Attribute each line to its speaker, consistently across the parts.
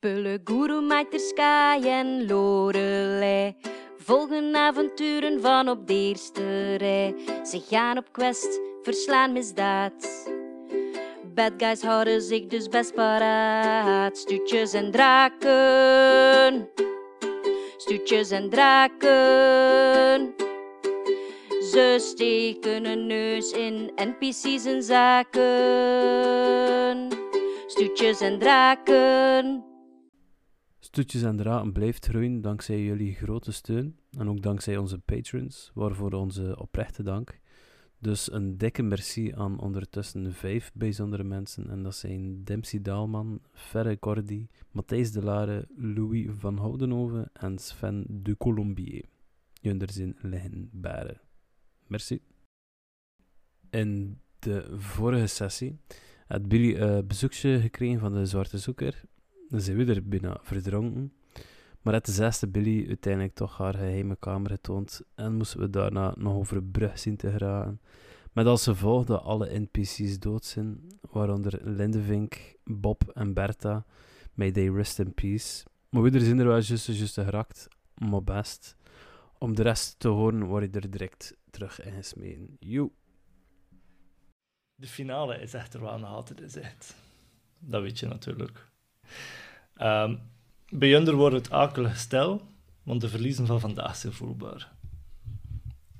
Speaker 1: Pulle, Goeroe, Sky en Lorelei. Volgen avonturen van op de eerste rij. Ze gaan op quest, verslaan misdaad. Bad guys houden zich dus best paraat. Stuutjes en draken. Stuutjes en draken. Ze steken een neus in NPC's en zaken. Stuutjes en draken.
Speaker 2: Stoetjes en Draken blijft groeien dankzij jullie grote steun en ook dankzij onze patrons, waarvoor onze oprechte dank. Dus een dikke merci aan ondertussen vijf bijzondere mensen en dat zijn Dempsey Daalman, Ferre Cordy, Matthijs de Lare, Louis van Houdenhoven en Sven de Colombier. Jullie zijn liggen baren. Merci. In de vorige sessie had Billy een bezoekje gekregen van de Zwarte Zoeker dan zijn we er bijna verdronken. Maar had de zesde Billy uiteindelijk toch haar geheime kamer getoond en moesten we daarna nog over een brug zien te geraken. Met als gevolg dat alle NPC's dood zijn, waaronder Lindevink, Bob en Bertha. May they rest in peace. Maar we zijn er wel juist juist geraakt, maar best. Om de rest te horen word je er direct terug in gesmeten. Joe.
Speaker 3: De finale is echter wel nog altijd is echt. Dat weet je natuurlijk. Ehm bij Junder wordt het akelig stel, want de verliezen van vandaag zijn voelbaar.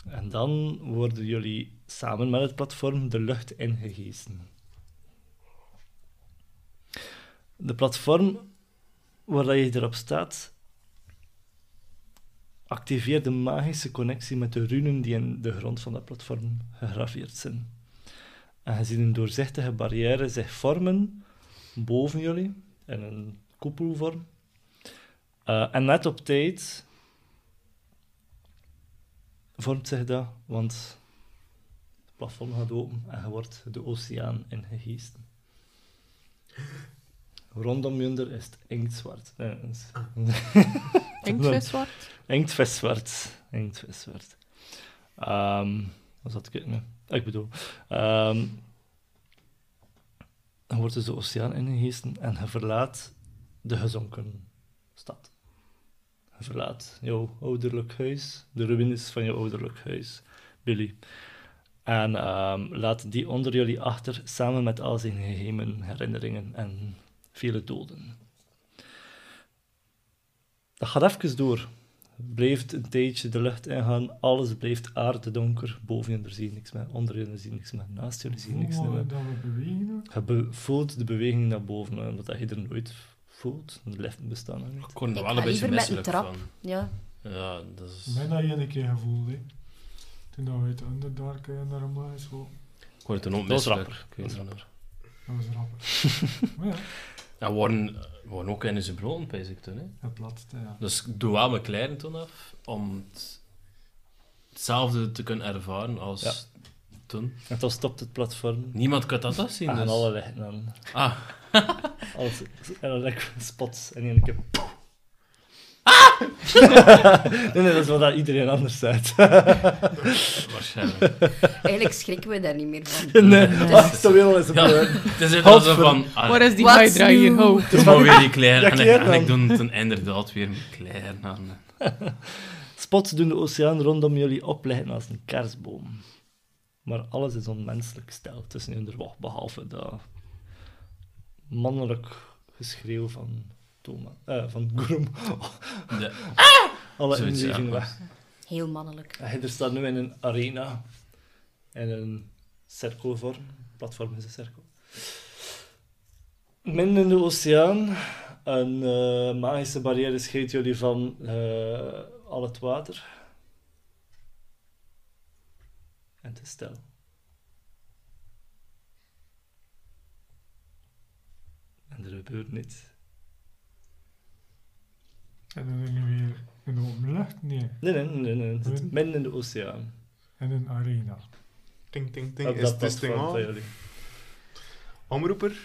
Speaker 3: En dan worden jullie samen met het platform de lucht ingegezen. De platform waar dat je erop staat, activeert de magische connectie met de runen die in de grond van dat platform gegraveerd zijn. En je ziet een doorzichtige barrière zich vormen boven jullie in een koepelvorm. Eh, en net op tijd vormt zich dat, want het platform gaat open en je wordt de oceaan ingegeest. Rondom Junder is het inktzwart. Nee, dat is-
Speaker 4: Inktvis wordt.
Speaker 3: Inktviswart. Inktviswart. Ehm wat zat ik... Nee, ik bedoel... ehm je wordt dus de oceaan ingegeven en je verlaat de gezonken stad. Je verlaat jouw ouderlijk huis, de ruïnes van jouw ouderlijk huis, Billy. En ehm, laat die onder jullie achter, samen met al zijn geheimen, herinneringen en vele doden. Dat gaat even door blijft een tijdje de lucht ingaan, alles blijft aardedonker. Boven jullie zie je niks meer, onder jullie zie je niks meer, naast jullie zie je niks
Speaker 5: Oh,
Speaker 3: meer.
Speaker 5: dat we bewegen ook.
Speaker 3: Je be- voelt de beweging naar boven, hè, omdat je er nooit voelt. De liften bestaan er niet.
Speaker 6: Ik word er
Speaker 1: Ik
Speaker 6: wel
Speaker 1: ga
Speaker 6: een beetje
Speaker 1: liever met een
Speaker 6: misselijk
Speaker 1: trap.
Speaker 6: van.
Speaker 1: Ja,
Speaker 6: Ja, dat is...
Speaker 5: Mij dat één keer gevoeld, hè. Toen dat we uit de Underdark eh, naar omlaag is
Speaker 6: Ik word er ook
Speaker 3: Dat is
Speaker 6: misselijk.
Speaker 3: rapper.
Speaker 6: Ik weet
Speaker 3: Dat is
Speaker 6: het niet.
Speaker 5: Dat was rapper. maar ja,
Speaker 6: En we waren, we waren eh, ook in zijn brood, pijs ik toen. Hè.
Speaker 5: het laatste, ja.
Speaker 6: Dus ik doe wel mijn kleren toen af, om het- hetzelfde te kunnen ervaren als
Speaker 3: Ja.
Speaker 6: toen.
Speaker 3: En dan stopt het platform.
Speaker 6: Niemand kan dat afzien,
Speaker 3: En
Speaker 6: dus...
Speaker 3: alle lichten aan.
Speaker 6: Ah,
Speaker 3: Alles, en dan like, spots. En één keer... poeh.
Speaker 6: Ah!
Speaker 3: nee, nee, dat is wat dat iedereen anders zegt.
Speaker 6: waarschijnlijk.
Speaker 1: eigenlijk schrikken we daar niet meer van.
Speaker 3: nee,
Speaker 1: Dus-
Speaker 3: ah, de wereld is een
Speaker 6: Ja,
Speaker 3: blur.
Speaker 6: het is echt als zo
Speaker 3: Godverdomme.
Speaker 6: van... Ah,
Speaker 4: Waar
Speaker 7: Dus
Speaker 4: is die
Speaker 1: What's
Speaker 4: Hydra hier?
Speaker 1: new?
Speaker 4: Ho.
Speaker 6: doe maar weer die
Speaker 3: Ja,
Speaker 6: kleren. aan.
Speaker 3: kleren
Speaker 6: en, ik
Speaker 3: dan.
Speaker 6: doe toen inderdaad weer mijn kleren aan.
Speaker 3: Spots doen de oceaan rondom jullie opleggen als een kerstboom. Maar alles is onmenselijk stijl tussen hun er wacht, behalve dat mannelijk geschreeuw van Toma, eh, van Grum.
Speaker 6: De,
Speaker 3: Alle
Speaker 6: Zoiets, ja.
Speaker 3: inleving weg.
Speaker 1: Heel mannelijk.
Speaker 3: En er staat nu in een arena, in een cirkelvorm. Platform is een cirkel. Midden in de oceaan, een eh, magische barrière scheidt jullie van eh, al het water. En het is stil. En er gebeurt niets.
Speaker 5: En dan gingen we weer in de open lucht neer.
Speaker 3: Nee, nee, nee, nee. Het zit
Speaker 5: Nee.
Speaker 3: midden in de oceaan.
Speaker 5: In een arena.
Speaker 8: Ting, ting, ting.
Speaker 3: Op
Speaker 8: Is
Speaker 3: dat
Speaker 8: het dus ding
Speaker 3: platform eh, van
Speaker 8: aan?
Speaker 3: jullie.
Speaker 8: Omroeper?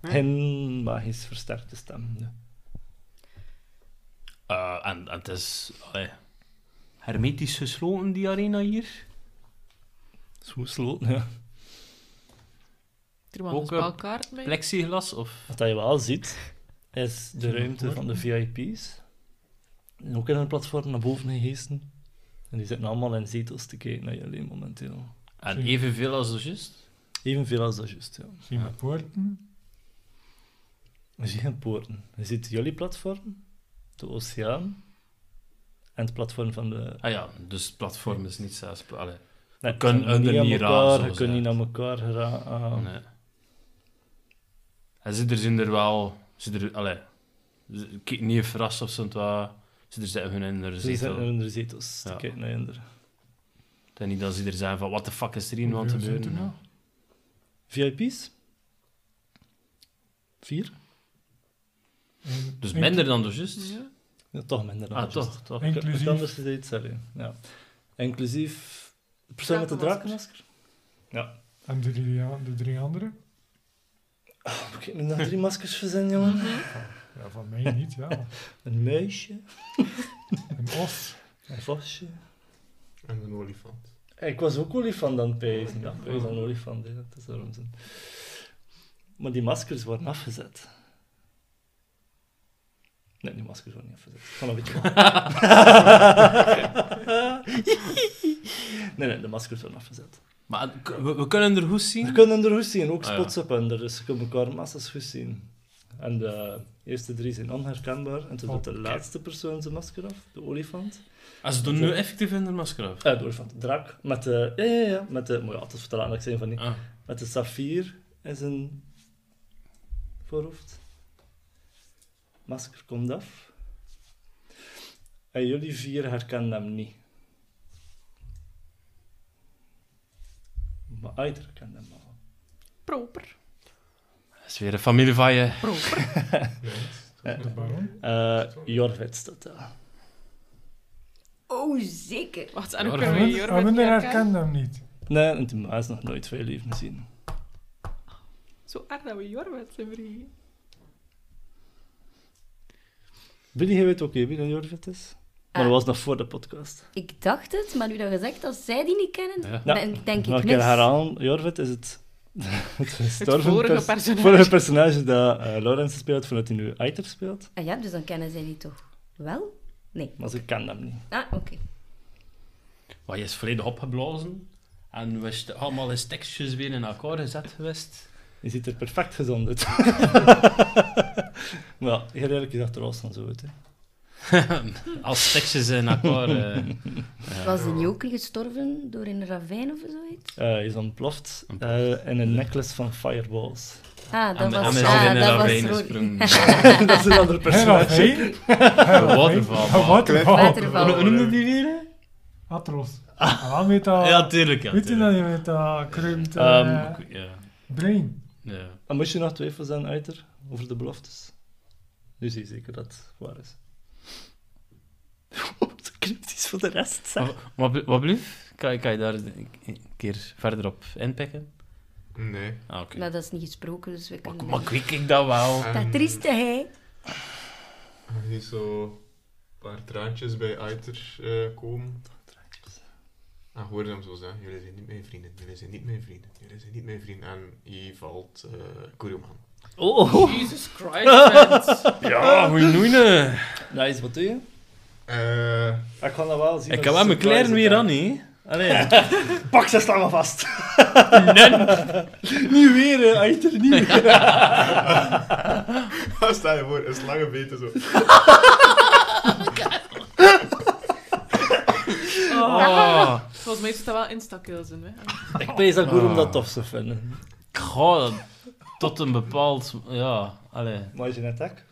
Speaker 8: Hm?
Speaker 3: Geen magisch versterkte stem. nee.
Speaker 6: Eh, en, en het is allee, hermetisch gesloten, die arena hier.
Speaker 3: Zo gesloten, ja.
Speaker 4: Er was een
Speaker 6: Ook, eh,
Speaker 2: eh,
Speaker 4: spelkaart mee.
Speaker 6: Plexiglas of...
Speaker 3: Wat dat je wel ziet, is de
Speaker 2: Zullen we
Speaker 3: ruimte van de VIP's. En ook in een platform naar boven gehezen. En die zitten allemaal in zetels te kijken naar jullie momenteel.
Speaker 2: En evenveel als zojuist?
Speaker 3: Evenveel als dat juist, ja.
Speaker 5: Zie je poorten?
Speaker 3: We zien geen poorten. We zien jullie platform, de oceaan en het platform van de...
Speaker 2: Ah ja, dus het platform is niet zelfs... Allee.
Speaker 3: Nee,
Speaker 2: We kunnen
Speaker 3: zijn
Speaker 2: er
Speaker 3: aan
Speaker 2: niet raar,
Speaker 3: elkaar,
Speaker 2: zoals
Speaker 3: Je kunt
Speaker 2: het.
Speaker 3: niet aan elkaar
Speaker 5: Oh.
Speaker 3: geraken.
Speaker 2: Nee. En ze er zijn er wel... Ze er, allee, ze- ik kijk niet verrast of ze het wat... Ze er zijn hun in haar
Speaker 3: Ze zitten
Speaker 2: zetel.
Speaker 3: in de zetels te
Speaker 2: Ja.
Speaker 3: kijken naar onder.
Speaker 2: Het is niet dat ze er zijn van, what the fuck is er hier aan het
Speaker 5: Hoeveel zijn er
Speaker 2: gebeuren?
Speaker 5: nou?
Speaker 3: VIP's? Vier?
Speaker 5: nou?
Speaker 2: Dus minder dan zojuist?
Speaker 9: Ja.
Speaker 3: Ja, toch minder dan
Speaker 2: Ah,
Speaker 3: juist.
Speaker 2: toch, toch.
Speaker 5: Hey. Inclusief-
Speaker 3: Het anders is iets, sorry. Ja. Inclusief de persoon met de drakenmasker.
Speaker 5: En de drie, a- de drie anderen?
Speaker 3: Moet ik nu nog drie maskers verzinnen, jongen?
Speaker 5: Ja, van mij niet, ja.
Speaker 3: Een muisje,
Speaker 5: Een os.
Speaker 3: een vosje. Eh,
Speaker 10: En een olifant.
Speaker 3: Ik was ook olifant aan het pijzen. Ja, pijzen aan olifant, hè. dat is daarom zo. Maar die maskers worden afgezet. Nee, die maskers worden niet afgezet. Van een beetje Nee, nee, de maskers worden afgezet.
Speaker 2: Maar eh, k- we, we kunnen er goed
Speaker 3: We
Speaker 2: zien.
Speaker 3: kunnen er goed zien, ook
Speaker 2: Ah, ja.
Speaker 3: spots op onder, dus je kunt elkaar massas goed zien. En de eerste drie zijn onherkenbaar, en toen doet de
Speaker 5: Oké.
Speaker 3: laatste persoon zijn masker af, de olifant.
Speaker 2: Als ze doen nu effectief in de masker af.
Speaker 3: Eh, de olifant, de draak. Met de, ja, ja, ja, met de, moet je altijd vertellen, dat ik zei van niet.
Speaker 2: Ah.
Speaker 3: Met de saffier in zijn voorhoofd. Masker komt af. En jullie vier herkennen hem niet. Maar Aider herkent hem al.
Speaker 9: Proper.
Speaker 2: Dat is weer een familie van je.
Speaker 9: Proper.
Speaker 5: De baron.
Speaker 3: Eh Jorvet staat daar.
Speaker 7: Oh, zeker.
Speaker 9: Wacht, en hoe
Speaker 2: Jorgen.
Speaker 9: kunnen we
Speaker 5: Amunder
Speaker 9: Jorgen
Speaker 5: Amunder
Speaker 9: herkennen?
Speaker 5: herkende hem niet.
Speaker 3: Nee, want die is nog nooit veel leven gezien.
Speaker 9: Zo erg dat we Jorwet zijn vergeten.
Speaker 3: Billy, jij weet ook hè, wie dat Jorvet is? Maar dat was nog voor de podcast.
Speaker 7: Ik dacht het, maar nu dat gezegd, als zij die niet kennen,
Speaker 2: Ja.
Speaker 3: Ja.
Speaker 7: dan denk ik
Speaker 3: Nog een keer
Speaker 7: niks.
Speaker 3: herhalen, Jorvet is het, het gestorven
Speaker 9: vorige
Speaker 3: pers-
Speaker 9: personage.
Speaker 3: vorige personage dat eh Lawrence speelt, vanuit hij nu Aiter speelt.
Speaker 7: Ah ja, dus dan kennen zij die toch wel? Nee.
Speaker 3: Maar ze kan hem niet.
Speaker 7: Ah, oké.
Speaker 2: Maar je is volledig opgeblazen. En we zijn allemaal eens tekstjes weer in elkaar gezet geweest.
Speaker 3: Je ziet er perfect gezond uit. maar ja, heel eerlijk gezegd, er was dan zo uit. Hè.
Speaker 2: Als tekstjes in elkaar. eh,
Speaker 7: Was de joker gestorven door een ravijn of zoiets?
Speaker 3: Eh, hij is ontploft eh, in een necklace van fireballs.
Speaker 7: Ah,
Speaker 2: eh, en
Speaker 7: dat
Speaker 2: we-
Speaker 7: was...
Speaker 2: en we
Speaker 7: ah,
Speaker 2: zijn in
Speaker 7: dat was
Speaker 2: ravijn
Speaker 7: Rory.
Speaker 2: gesprongen.
Speaker 3: dat is een andere
Speaker 5: Hij
Speaker 3: personage.
Speaker 2: waterval,
Speaker 5: Een waterval.
Speaker 7: Waterval.
Speaker 2: Hoe noemde die weer?
Speaker 5: Atros. Ah, met dat...
Speaker 2: Ja, tuurlijk. Ja,
Speaker 5: Weet je nou, dat
Speaker 2: tuurlijk.
Speaker 5: je met dat kruimt
Speaker 3: Ehm,
Speaker 5: eh,
Speaker 2: Ja,
Speaker 5: brein?
Speaker 2: ja.
Speaker 3: En moest je nog twijfels aan Aiter over de beloftes? Nu zie je zeker dat het waar is. Wat cryptisch voor de rest, zeg.
Speaker 2: Wat, bl- wat blieft? Kan, je- kan je daar een een keer verder op inpikken?
Speaker 10: Nee.
Speaker 2: Ah, oké.
Speaker 7: Maar dat is niet gesproken, dus we
Speaker 2: Maar,
Speaker 7: kunnen...
Speaker 2: maar kweek ik dat wel?
Speaker 7: Dat trieste hij.
Speaker 10: Je ziet zo een paar traantjes bij Uiter eh, komen. En hoor hem zo zeggen, jullie zijn niet mijn vrienden, jullie zijn niet mijn vrienden, jullie zijn niet mijn vrienden. En hier valt eh Kurum aan.
Speaker 3: Oh,
Speaker 2: Jesus
Speaker 9: Oh.
Speaker 2: Christ! ja, goeie noeien.
Speaker 3: nice, Nou, wat doe je?
Speaker 10: Eh,
Speaker 3: Ik kan dat wel zien.
Speaker 2: Ik
Speaker 3: dat
Speaker 2: heb wel
Speaker 3: ze
Speaker 2: mijn kleren
Speaker 3: surprise
Speaker 2: weer aan,
Speaker 3: zijn.
Speaker 2: hè.
Speaker 3: Allee. Pak ze slangen vast. niet weer, hè, Aiter, niet weer.
Speaker 10: Stel je voor, een slangenbeten zo.
Speaker 2: Oh.
Speaker 9: Volgens mij zit dat wel instakills in, hè.
Speaker 3: Ik pees dat goed om
Speaker 2: Ah.
Speaker 3: dat tof te vinden.
Speaker 2: Goh, tot een bepaald... Ja, allee.
Speaker 3: Maar is je net hek?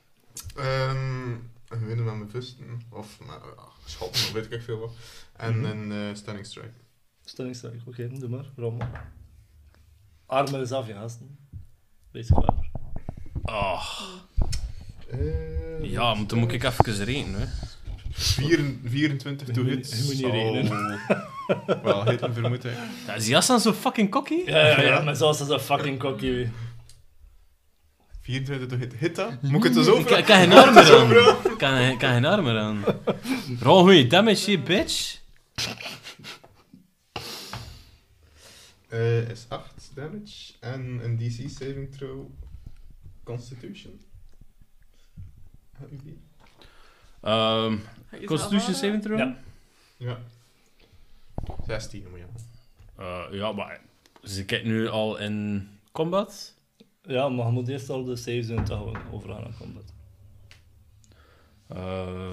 Speaker 10: Ehm, en winnen met mijn vusten, of met ah, schoppen, of weet ik veel wat. En
Speaker 3: Mhm.
Speaker 10: een eh, standing strike.
Speaker 3: Stelling sterk. Oké, doe maar. Rommel. Armen is af, je gasten. Wees klaar.
Speaker 2: Oh,
Speaker 10: Eh,
Speaker 2: ja, maar dan moet ik even rekenen, hè.
Speaker 10: Vieren- 24 to
Speaker 3: Je moet
Speaker 10: hits.
Speaker 3: niet- je moet niet
Speaker 10: zal Wel, hit en vermoed ik.
Speaker 2: Ja, is die jas dan zo fucking cocky?
Speaker 3: Ja, ja, ja. Maar zoals dat een fucking kokkie.
Speaker 10: 24 to hit. Hit dat? Moet ik het er zo
Speaker 2: Ik
Speaker 10: vragen?
Speaker 2: kan geen arm meer aan. Ik kan, ik kan geen arm meer aan. Rol goeie damage hier, bitch.
Speaker 10: Eh, is 8 damage en een DC saving throw Constitution.
Speaker 2: Ehm
Speaker 9: Ga je "Ah,
Speaker 2: Constitution
Speaker 9: zelf aan-
Speaker 2: saving throw?
Speaker 3: Ja.
Speaker 10: Ja. 16, maar ja.
Speaker 2: Eh, ja, maar ze kijkt nu al in combat.
Speaker 3: Ja, maar je moet eerst al de saves doen dat gewoon overgaan aan combat.
Speaker 2: Eh,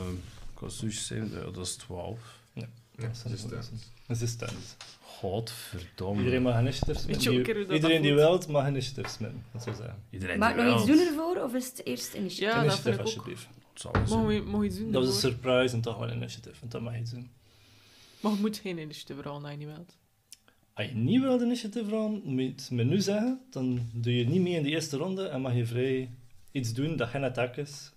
Speaker 2: Constitution saving throw, dat is 12.
Speaker 10: Ja,
Speaker 3: Dat zijn
Speaker 10: dus,
Speaker 3: de
Speaker 10: eh,
Speaker 3: bonussen. Resistance.
Speaker 2: Godverdomme.
Speaker 3: Iedereen mag initiatives
Speaker 9: Weet
Speaker 3: smitten.
Speaker 9: je ook een keer hoe
Speaker 3: Die-
Speaker 9: dat
Speaker 3: Iedereen die
Speaker 9: afloopt?
Speaker 3: wilt, mag initiatives smitten. Dat zou zeggen.
Speaker 2: Iedereen
Speaker 1: Maak
Speaker 2: die
Speaker 1: nog iets
Speaker 2: wilt.
Speaker 1: doen ervoor, of is het eerst initiatief?
Speaker 9: Ja, dat
Speaker 3: initiative,
Speaker 9: vind ik ook.
Speaker 3: alsjeblieft.
Speaker 2: Het zal wel zijn.
Speaker 9: Mogen we mogen we iets doen?
Speaker 3: Dat was een
Speaker 9: daarvoor?
Speaker 3: surprise en toch wel een initiative. En dat mag je iets doen.
Speaker 9: Maar je moet geen initiative rollen als je niet wilt.
Speaker 3: Als je niet wilt initiative rollen, moet je het menu zeggen. Dan doe je niet mee in de eerste ronde en mag je vrij iets doen dat geen attack is.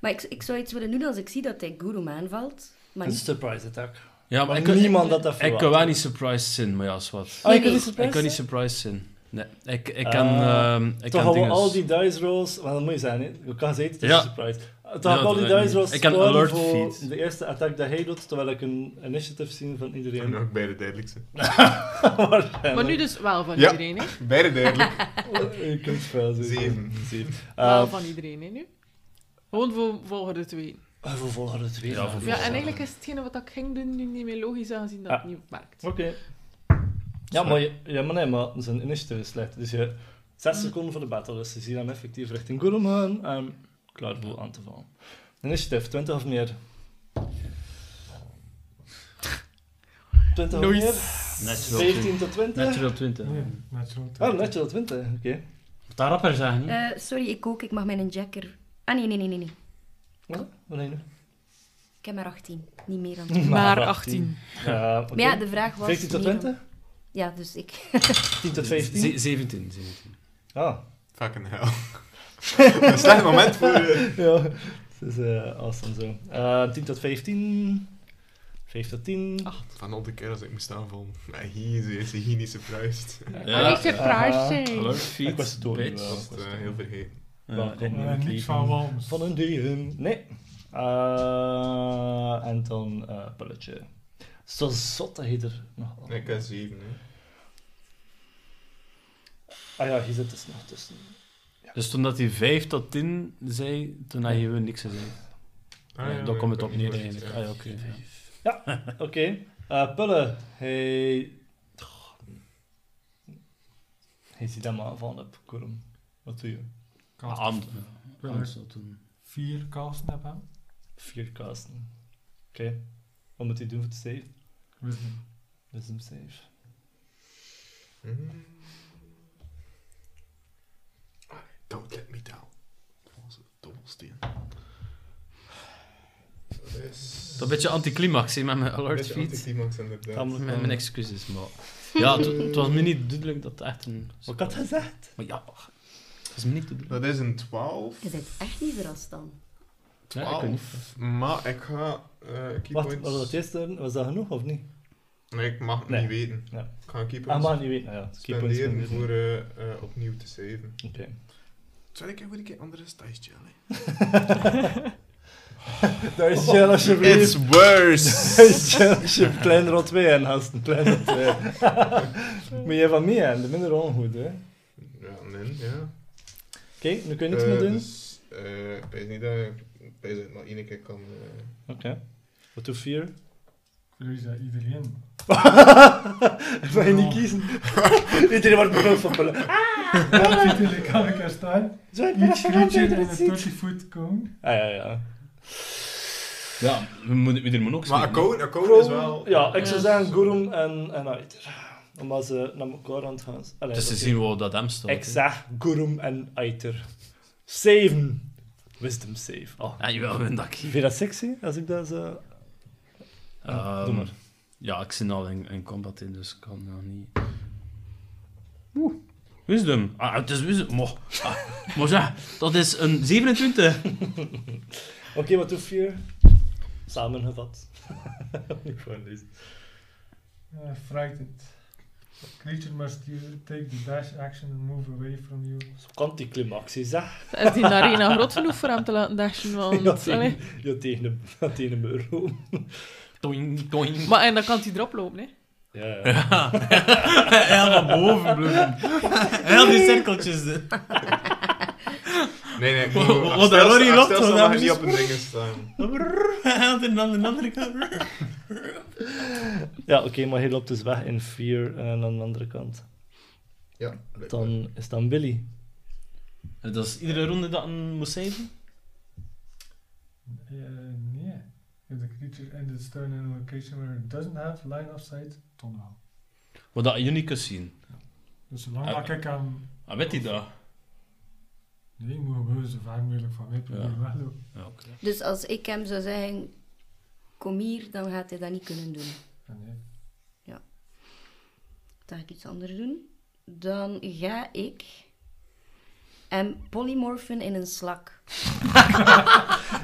Speaker 1: Maar ik, ik zou iets willen doen als ik zie dat hij Guru aanvalt. Maar
Speaker 3: Een
Speaker 10: Dus-
Speaker 1: niet.
Speaker 3: surprise attack.
Speaker 2: Ja,
Speaker 3: Maar
Speaker 2: maar ik kan,
Speaker 3: niemand
Speaker 2: ik,
Speaker 3: dat dat
Speaker 2: Ik
Speaker 3: verwacht,
Speaker 2: kan wel
Speaker 3: hè.
Speaker 2: niet surprised zijn, maar ja, is wat.
Speaker 3: Oh, je
Speaker 1: nee,
Speaker 3: kunt niet surprise
Speaker 2: Ik kan niet
Speaker 3: zijn?
Speaker 2: surprised zijn. Nee, ik, ik
Speaker 3: Ah,
Speaker 2: kan... ehm ik
Speaker 3: Toch
Speaker 2: kan
Speaker 3: gaan we
Speaker 2: dingen...
Speaker 3: al die dice rolls, want dat moet je zijn, hè? je kan ze eten, het is
Speaker 2: Ja.
Speaker 3: een surprise. Toch
Speaker 2: Ja,
Speaker 3: gaan we
Speaker 2: dat
Speaker 3: al die
Speaker 2: weet ik
Speaker 3: dice
Speaker 2: niet.
Speaker 3: rolls
Speaker 2: Ik kan
Speaker 3: scoren
Speaker 2: alert
Speaker 3: voor
Speaker 2: feed.
Speaker 3: de eerste attack dat hij doet, terwijl ik een initiative zie van
Speaker 10: En
Speaker 3: iedereen.
Speaker 10: eh, ook bij de duidelijkste.
Speaker 3: Waarschijnlijk. Oh,
Speaker 9: Maar nu dus wel van
Speaker 10: Ja.
Speaker 9: iedereen, hè?
Speaker 10: Bij de duidelijk.
Speaker 3: Je kunt het wel zeggen.
Speaker 10: Zeven.
Speaker 3: Zeven.
Speaker 9: Wel
Speaker 3: Eh,
Speaker 9: van iedereen, hè, nu? Gewoon voor volgende twee.
Speaker 3: eh, we volgen het weer.
Speaker 2: Ja, we
Speaker 9: Ja,
Speaker 2: volgen.
Speaker 9: en eigenlijk is hetgene wat ik ging doen nu niet meer logisch aangezien dat
Speaker 3: Ja.
Speaker 9: het niet werkt.
Speaker 3: Oké. Ja, maar, je- ja, maar nee, maar zijn initiative is slecht. Dus je 6 seconden voor de battle, dus je ziet hem effectief richting Gurum gaan en klaar voor aan te vallen. Initiative, 20 of meer. 20 of meer?
Speaker 2: Natural 20.
Speaker 3: 17 tot 20?
Speaker 2: Natural 20.
Speaker 5: Nee, natural
Speaker 3: Oh,
Speaker 5: 20.
Speaker 3: natural 20, oké.
Speaker 2: Moet dat rapper zijn, niet?
Speaker 1: Eh, sorry, ik ook. Ik mag mijn jacker. Ah, nee, nee, nee, nee. nee.
Speaker 3: Wat? Wat heb je nu?
Speaker 1: Ik heb maar 18. Niet meer dan.
Speaker 9: Maar
Speaker 3: 18.
Speaker 9: 18.
Speaker 3: Ja,
Speaker 1: Maar ja, de vraag was...
Speaker 3: 15 tot
Speaker 1: meer dan-
Speaker 3: 20?
Speaker 1: Ja, dus ik...
Speaker 3: 10 tot 15?
Speaker 2: Ze- 17, 17.
Speaker 3: Ah,
Speaker 10: Fucking hell. Een slecht moment voor... eh,
Speaker 3: ja. Dus eh awesome zo. Eh 10 tot 15. 5 tot 10.
Speaker 10: Van al de keer als ik moest aanvallen. Maar hier ze is ze hier niet surprised.
Speaker 9: Ja. Ik surprised
Speaker 3: Aha.
Speaker 9: zijn.
Speaker 2: Alert feed,
Speaker 3: Ik was het door,
Speaker 2: bitch.
Speaker 3: wel.
Speaker 10: Dat is eh, heel vergeten.
Speaker 2: Ja,
Speaker 3: Welkom.
Speaker 2: ik-
Speaker 5: Maar
Speaker 2: ik-
Speaker 5: Eh, niks van Walms.
Speaker 3: Van een dieren. Nee. Eh, en dan eh pulletje. Zo zot dat hij er nog al-
Speaker 10: Ik heb 7, hè.
Speaker 3: Ah ja, hier zit dus nog tussen.
Speaker 2: Dus toen dat hij 5 tot 10 zei, toen had je weer niks gezegd.
Speaker 10: Ah, ja,
Speaker 2: dan
Speaker 10: maar
Speaker 2: komt
Speaker 10: ik
Speaker 2: het op
Speaker 10: heb niet
Speaker 2: neer
Speaker 10: gehoord,
Speaker 2: eigenlijk.
Speaker 10: ja.
Speaker 2: Ah, ja, oké. ja.
Speaker 3: Oké. Eh, Pulle. Hij... Toch. Hij ziet hem aanvallen op Kurum. Wat doe je?
Speaker 5: Kast.
Speaker 2: Am-
Speaker 5: Ik wil er vier kasten op hem.
Speaker 3: Vier kasten. Oké. Wat moet hij doen voor de save?
Speaker 5: Wisdom.
Speaker 3: Wisdom save.
Speaker 10: Mm. Don't let me down. Onze dobbelsteen. Dat is...
Speaker 2: Dat is een beetje anticlimax, hè, met mijn alert
Speaker 10: Beetje
Speaker 2: feed.
Speaker 10: anticlimax, inderdaad.
Speaker 3: Tamelijk.
Speaker 2: Mijn, mijn excuses, maar... Ja, het, het was me niet duidelijk dat het echt een...
Speaker 3: Wat ik had gezegd?
Speaker 2: Maar ja, het is me niet duidelijk.
Speaker 10: Dat is een 12.
Speaker 1: Je bent echt niet verrast dan.
Speaker 2: Ja, ik weet niet.
Speaker 10: 12. Maar ik ga... eh key
Speaker 3: Wacht,
Speaker 10: points...
Speaker 3: was dat eerste? Was dat genoeg of niet?
Speaker 10: Nee, ik mag het
Speaker 3: Nee.
Speaker 10: niet weten.
Speaker 3: Ja.
Speaker 10: Ik ga key
Speaker 3: Ah,
Speaker 10: points
Speaker 3: maar niet weten. Nou ja, keep points
Speaker 10: spenderen
Speaker 3: spenderen.
Speaker 10: voor eh, eh, opnieuw te saven.
Speaker 3: Oké.
Speaker 10: Zal ik even een keer andere styles challenge?
Speaker 3: Daar is Jelle alsjeblieft.
Speaker 10: It's worse!
Speaker 3: Daar is Jelle alsjeblieft. Klein rot 2 en haast een klein rot 2. Moet je van mij aan, de minder ongoed hè. Oké,
Speaker 10: ja, nee, ja.
Speaker 3: nu kun je niks
Speaker 10: Eh,
Speaker 3: meer doen.
Speaker 10: Dus, eh, ik weet niet dat ik... Ik weet dat ik maar één keer kan... eh,
Speaker 3: Wat doe 4?
Speaker 5: Voor is dat iedereen.
Speaker 3: Mag je niet kiezen? Iedereen wordt bedoeld van pullen.
Speaker 5: Natuurlijk kan ik er staan.
Speaker 3: Zo,
Speaker 5: Each creature in a
Speaker 3: Ah
Speaker 5: 30 foot cone.
Speaker 3: ja, ja.
Speaker 2: Ja, we moeten- iedereen moet ook spelen.
Speaker 10: Maar account, account is
Speaker 3: Chrome,
Speaker 10: wel...
Speaker 3: ja, ik zou
Speaker 9: Ja.
Speaker 3: zeggen Gurum en, en Aiter. Omdat ze naar elkaar aan het gaan. Allee,
Speaker 2: Dus ze
Speaker 3: oké.
Speaker 2: zien wel dat hem staat.
Speaker 3: Ik zeg Gurum en Aiter. Saven. Wisdom save. Oh.
Speaker 2: Ja, jawel, win dat.
Speaker 3: Vind je dat sexy? Als ik dat zo...
Speaker 2: Ehm,
Speaker 3: doe maar.
Speaker 2: Ja, ik zit al in, in combat in, dus ik kan nog niet. Oeh. Wisdom. Ah, het is wisdom. Mo. Ah, maar zeg, dat is een 27.
Speaker 3: Oké, wat doe je? Samengevat. Niet voorlezen.
Speaker 5: Uh, frightened. Creature must you take the dash action and move away from you.
Speaker 3: Zo kan die climax, zeg.
Speaker 9: Is die arena groot genoeg voor hem te laten dashen? Want,
Speaker 3: Ja, tegen,
Speaker 9: allee.
Speaker 3: ja, tegen, een, ja, tegen een bureau.
Speaker 2: Toing, toing.
Speaker 9: Maar en dan kan hij erop lopen, hè?
Speaker 3: Ja, ja.
Speaker 2: Heel van boven, bloemen. Heel die cirkeltjes.
Speaker 10: Nee, nee. ik
Speaker 2: Wat-
Speaker 10: moet-
Speaker 2: wat-
Speaker 10: Axel-
Speaker 2: wat daar hoor je
Speaker 10: Axel
Speaker 2: op, hoor,
Speaker 10: zal nog
Speaker 2: dat
Speaker 10: niet
Speaker 2: is-
Speaker 10: op een ding staan.
Speaker 2: en aan de andere kant.
Speaker 3: Ja, oké, maar hij loopt dus weg in fear en aan de andere kant.
Speaker 10: Ja.
Speaker 3: Dan is dan Billy.
Speaker 2: En dat is iedere ronde dat een moest zeven?
Speaker 5: Eh, nee. If the creature in the stone in a location where it doesn't have line of sight, tonal.
Speaker 2: Wat dat Unicus zien.
Speaker 5: Dus zolang
Speaker 2: Ah.
Speaker 5: dat ik hem...
Speaker 2: Ah, weet hij dat?
Speaker 5: Nee, ik moet gewoon zo ver mogelijk van mij proberen
Speaker 2: Ja.
Speaker 5: weglopen.
Speaker 2: Ja, oké.
Speaker 1: Dus als ik hem zou zeggen, kom hier, dan gaat hij dat niet kunnen doen.
Speaker 5: Ah, Nee.
Speaker 1: Dan ga ik iets anders doen. Dan ga ik hem polymorfen in een slak.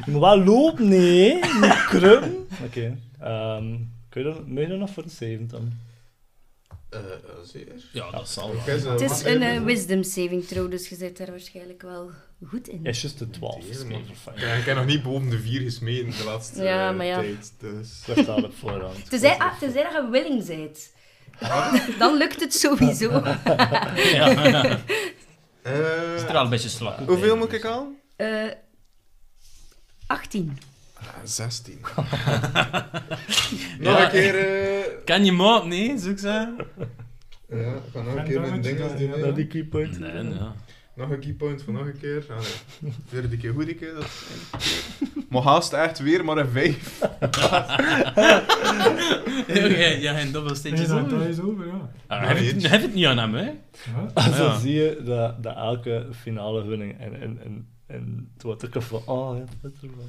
Speaker 3: Je moet wel lopen, nee. Je moet krummen. Oké. ehm, kun je dan, moet je dan nog voor de 7 dan?
Speaker 10: Eh, eh, zeer.
Speaker 2: Ja, dat zal wel.
Speaker 10: Oké, zo,
Speaker 1: Het
Speaker 10: mag
Speaker 1: is
Speaker 10: even
Speaker 1: een eh,
Speaker 10: doen.
Speaker 1: wisdom saving throw, dus je zit daar waarschijnlijk wel goed in.
Speaker 3: Ja, is juist de 12. is
Speaker 10: Deer,
Speaker 3: meer
Speaker 10: man.
Speaker 3: verfijn.
Speaker 10: Ik heb- Ik heb nog niet boven de vier gesmeden de laatste
Speaker 1: Ja,
Speaker 10: eh,
Speaker 1: maar ja.
Speaker 10: tijd. Dus.
Speaker 3: Ik al op voorhand.
Speaker 1: Tenzij, ah, tenzij dat je willing bent.
Speaker 3: Ah.
Speaker 1: Dan lukt het sowieso.
Speaker 10: Eh,
Speaker 2: Straal een beetje slak. op,
Speaker 10: hoeveel
Speaker 2: hè.
Speaker 10: moet ik aan?
Speaker 1: Eh 18.
Speaker 10: 16. Nog
Speaker 2: Ja.
Speaker 10: een keer. eh,
Speaker 2: Kan je maat, nee? Zoek ze.
Speaker 10: Ja, ik kan nog een
Speaker 5: En
Speaker 10: keer
Speaker 5: dan
Speaker 10: mijn
Speaker 5: moet je
Speaker 10: dinges
Speaker 5: dan,
Speaker 10: doen.
Speaker 5: ja,
Speaker 10: hè.
Speaker 5: dat
Speaker 3: die keypoint.
Speaker 2: Nee, ja.
Speaker 10: Nog een keypoint van nog een keer. Ah, nee. Vierde keer, goede keer. Dat is maar haast echt weer maar een 5.
Speaker 2: Oké, ja, en dubbelsteentjes.
Speaker 5: Nee, dat dat
Speaker 2: over.
Speaker 5: is over, ja.
Speaker 2: Ah, Heb je het niet aan hem, hè?
Speaker 5: Ja.
Speaker 3: Zo
Speaker 2: Ja.
Speaker 3: zie je dat, dat elke finale winning en, en, en, en het wordt ook van, oh ja, dat is er wel.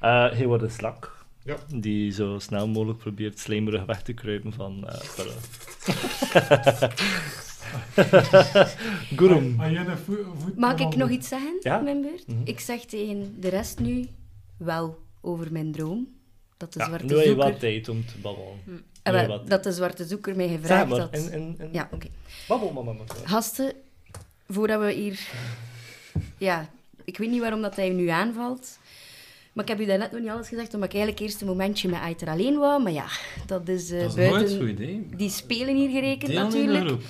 Speaker 3: Eh, hij wordt een slak.
Speaker 10: Ja.
Speaker 3: Die zo snel mogelijk probeert slijmerig weg te kruipen van eh Perra. Gurum.
Speaker 5: Ah, jij de voe- voet
Speaker 1: Mag
Speaker 5: van
Speaker 1: ik nog iets zeggen
Speaker 3: Ja?
Speaker 1: op mijn beurt?
Speaker 3: Mhm.
Speaker 1: Ik zeg tegen de rest nu wel over mijn droom. Dat de
Speaker 3: Ja,
Speaker 1: zwarte
Speaker 3: nu heb je
Speaker 1: zoeker...
Speaker 3: wel tijd om te babbelen.
Speaker 1: Eh,
Speaker 3: nu
Speaker 1: wel,
Speaker 3: wat.
Speaker 1: dat de zwarte zoeker mij
Speaker 3: Zeg
Speaker 1: gevraagd
Speaker 3: maar,
Speaker 1: had.
Speaker 3: en, en, en
Speaker 1: Ja, oké.
Speaker 3: babbel mama met haar.
Speaker 1: Gasten, voordat we hier... Ja, ik weet niet waarom dat hij nu aanvalt. Maar ik heb u daarnet nog niet alles gezegd, omdat ik eigenlijk eerst een momentje met Aiter alleen wou. Maar ja, dat is, eh,
Speaker 2: Dat is nooit
Speaker 1: buiten...
Speaker 2: zo'n idee.
Speaker 1: Die spelen hier gerekend
Speaker 2: Deel in de
Speaker 1: natuurlijk.
Speaker 2: groep.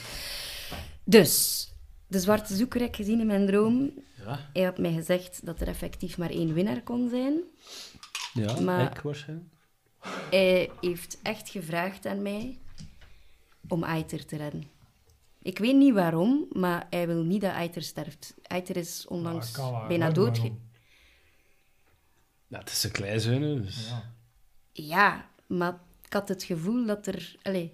Speaker 1: Dus, de zwarte zoeker heb ik gezien in mijn droom.
Speaker 2: Ja.
Speaker 1: Hij had mij gezegd dat er effectief maar één winnaar kon zijn.
Speaker 2: Ja,
Speaker 1: Maar-
Speaker 2: ik waarschijnlijk.
Speaker 1: Hij heeft echt gevraagd aan mij om Aiter te redden. Ik weet niet waarom, maar hij wil niet dat Aiter sterft. Aiter is
Speaker 5: Ah,
Speaker 1: onlangs
Speaker 5: kan wel,
Speaker 1: bijna
Speaker 5: hoor,
Speaker 1: dood.
Speaker 5: waarom?
Speaker 2: Ja, het is een klein zijn, dus...
Speaker 5: Ja.
Speaker 1: Ja, maar ik had het gevoel dat er... Allee,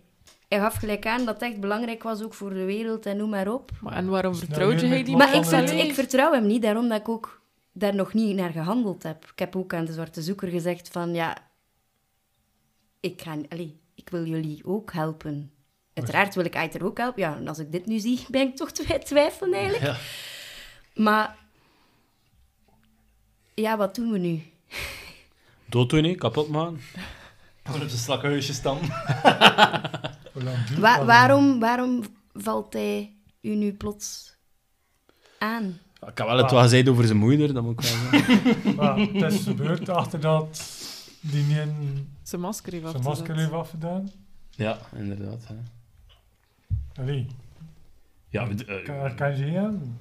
Speaker 1: hij gaf gelijk aan dat het echt belangrijk was, ook voor de wereld en noem maar op.
Speaker 9: Maar en waarom
Speaker 5: Snel
Speaker 9: vertrouw je
Speaker 5: weer
Speaker 9: hij
Speaker 5: met
Speaker 9: die
Speaker 5: Wat
Speaker 1: Maar
Speaker 5: kan
Speaker 1: ik,
Speaker 5: er
Speaker 1: zat,
Speaker 5: nu?
Speaker 1: ik vertrouw hem niet, daarom dat ik ook daar nog niet naar gehandeld heb. Ik heb ook aan de zwarte zoeker gezegd van, ja, ik, ga, allee, ik wil jullie ook helpen. Uiteraard wil ik Aiter ook helpen. Ja, en als ik dit nu zie, ben ik toch twi twijfelen eigenlijk.
Speaker 2: Ja.
Speaker 1: Maar ja, wat doen we nu?
Speaker 2: Dood doen, hè? Kapot maken.
Speaker 3: Gewoon op de slakkenhuisje staan.
Speaker 5: Hoe lang duurt
Speaker 1: Wa-
Speaker 5: dat?
Speaker 1: waarom, waarom valt hij u nu plots aan?
Speaker 2: Ja, Ik heb wel het wat gezegd over zijn moeder, dat moet ik wel zeggen.
Speaker 5: Maar het is gebeurd achter dat die niet in
Speaker 9: Zijn masker heeft
Speaker 5: zijn masker heeft afgedaan.
Speaker 2: Ja, inderdaad. Hè.
Speaker 5: Allee,
Speaker 2: Ja, we- eh,
Speaker 5: kan, daar kan je niet aan.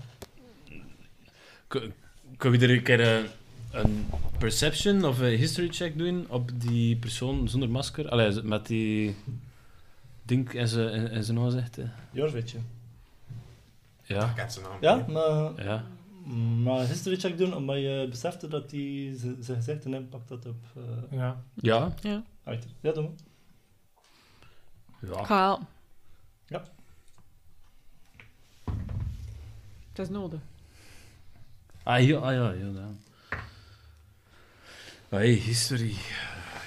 Speaker 2: Kun- Kunnen we er een keer eh, een perception of een history check doen op die persoon zonder masker? Allee, z- met die ding en zijn in- in zijn aanzichten.
Speaker 3: Jorvitje.
Speaker 2: Ja,
Speaker 10: Ik heb zijn naam.
Speaker 3: Ja, maar...
Speaker 2: ja.
Speaker 3: Maar history check doen, omdat je besefte dat die z- zijn gezicht een impact had op eh
Speaker 5: Ja.
Speaker 2: Ja,
Speaker 3: Aiter. Ja, doe maar.
Speaker 2: ja.
Speaker 9: Ga helpen.
Speaker 3: Ja.
Speaker 9: Het is nodig.
Speaker 2: Ah, ja, ah, ja, ja. ja. Hey, history.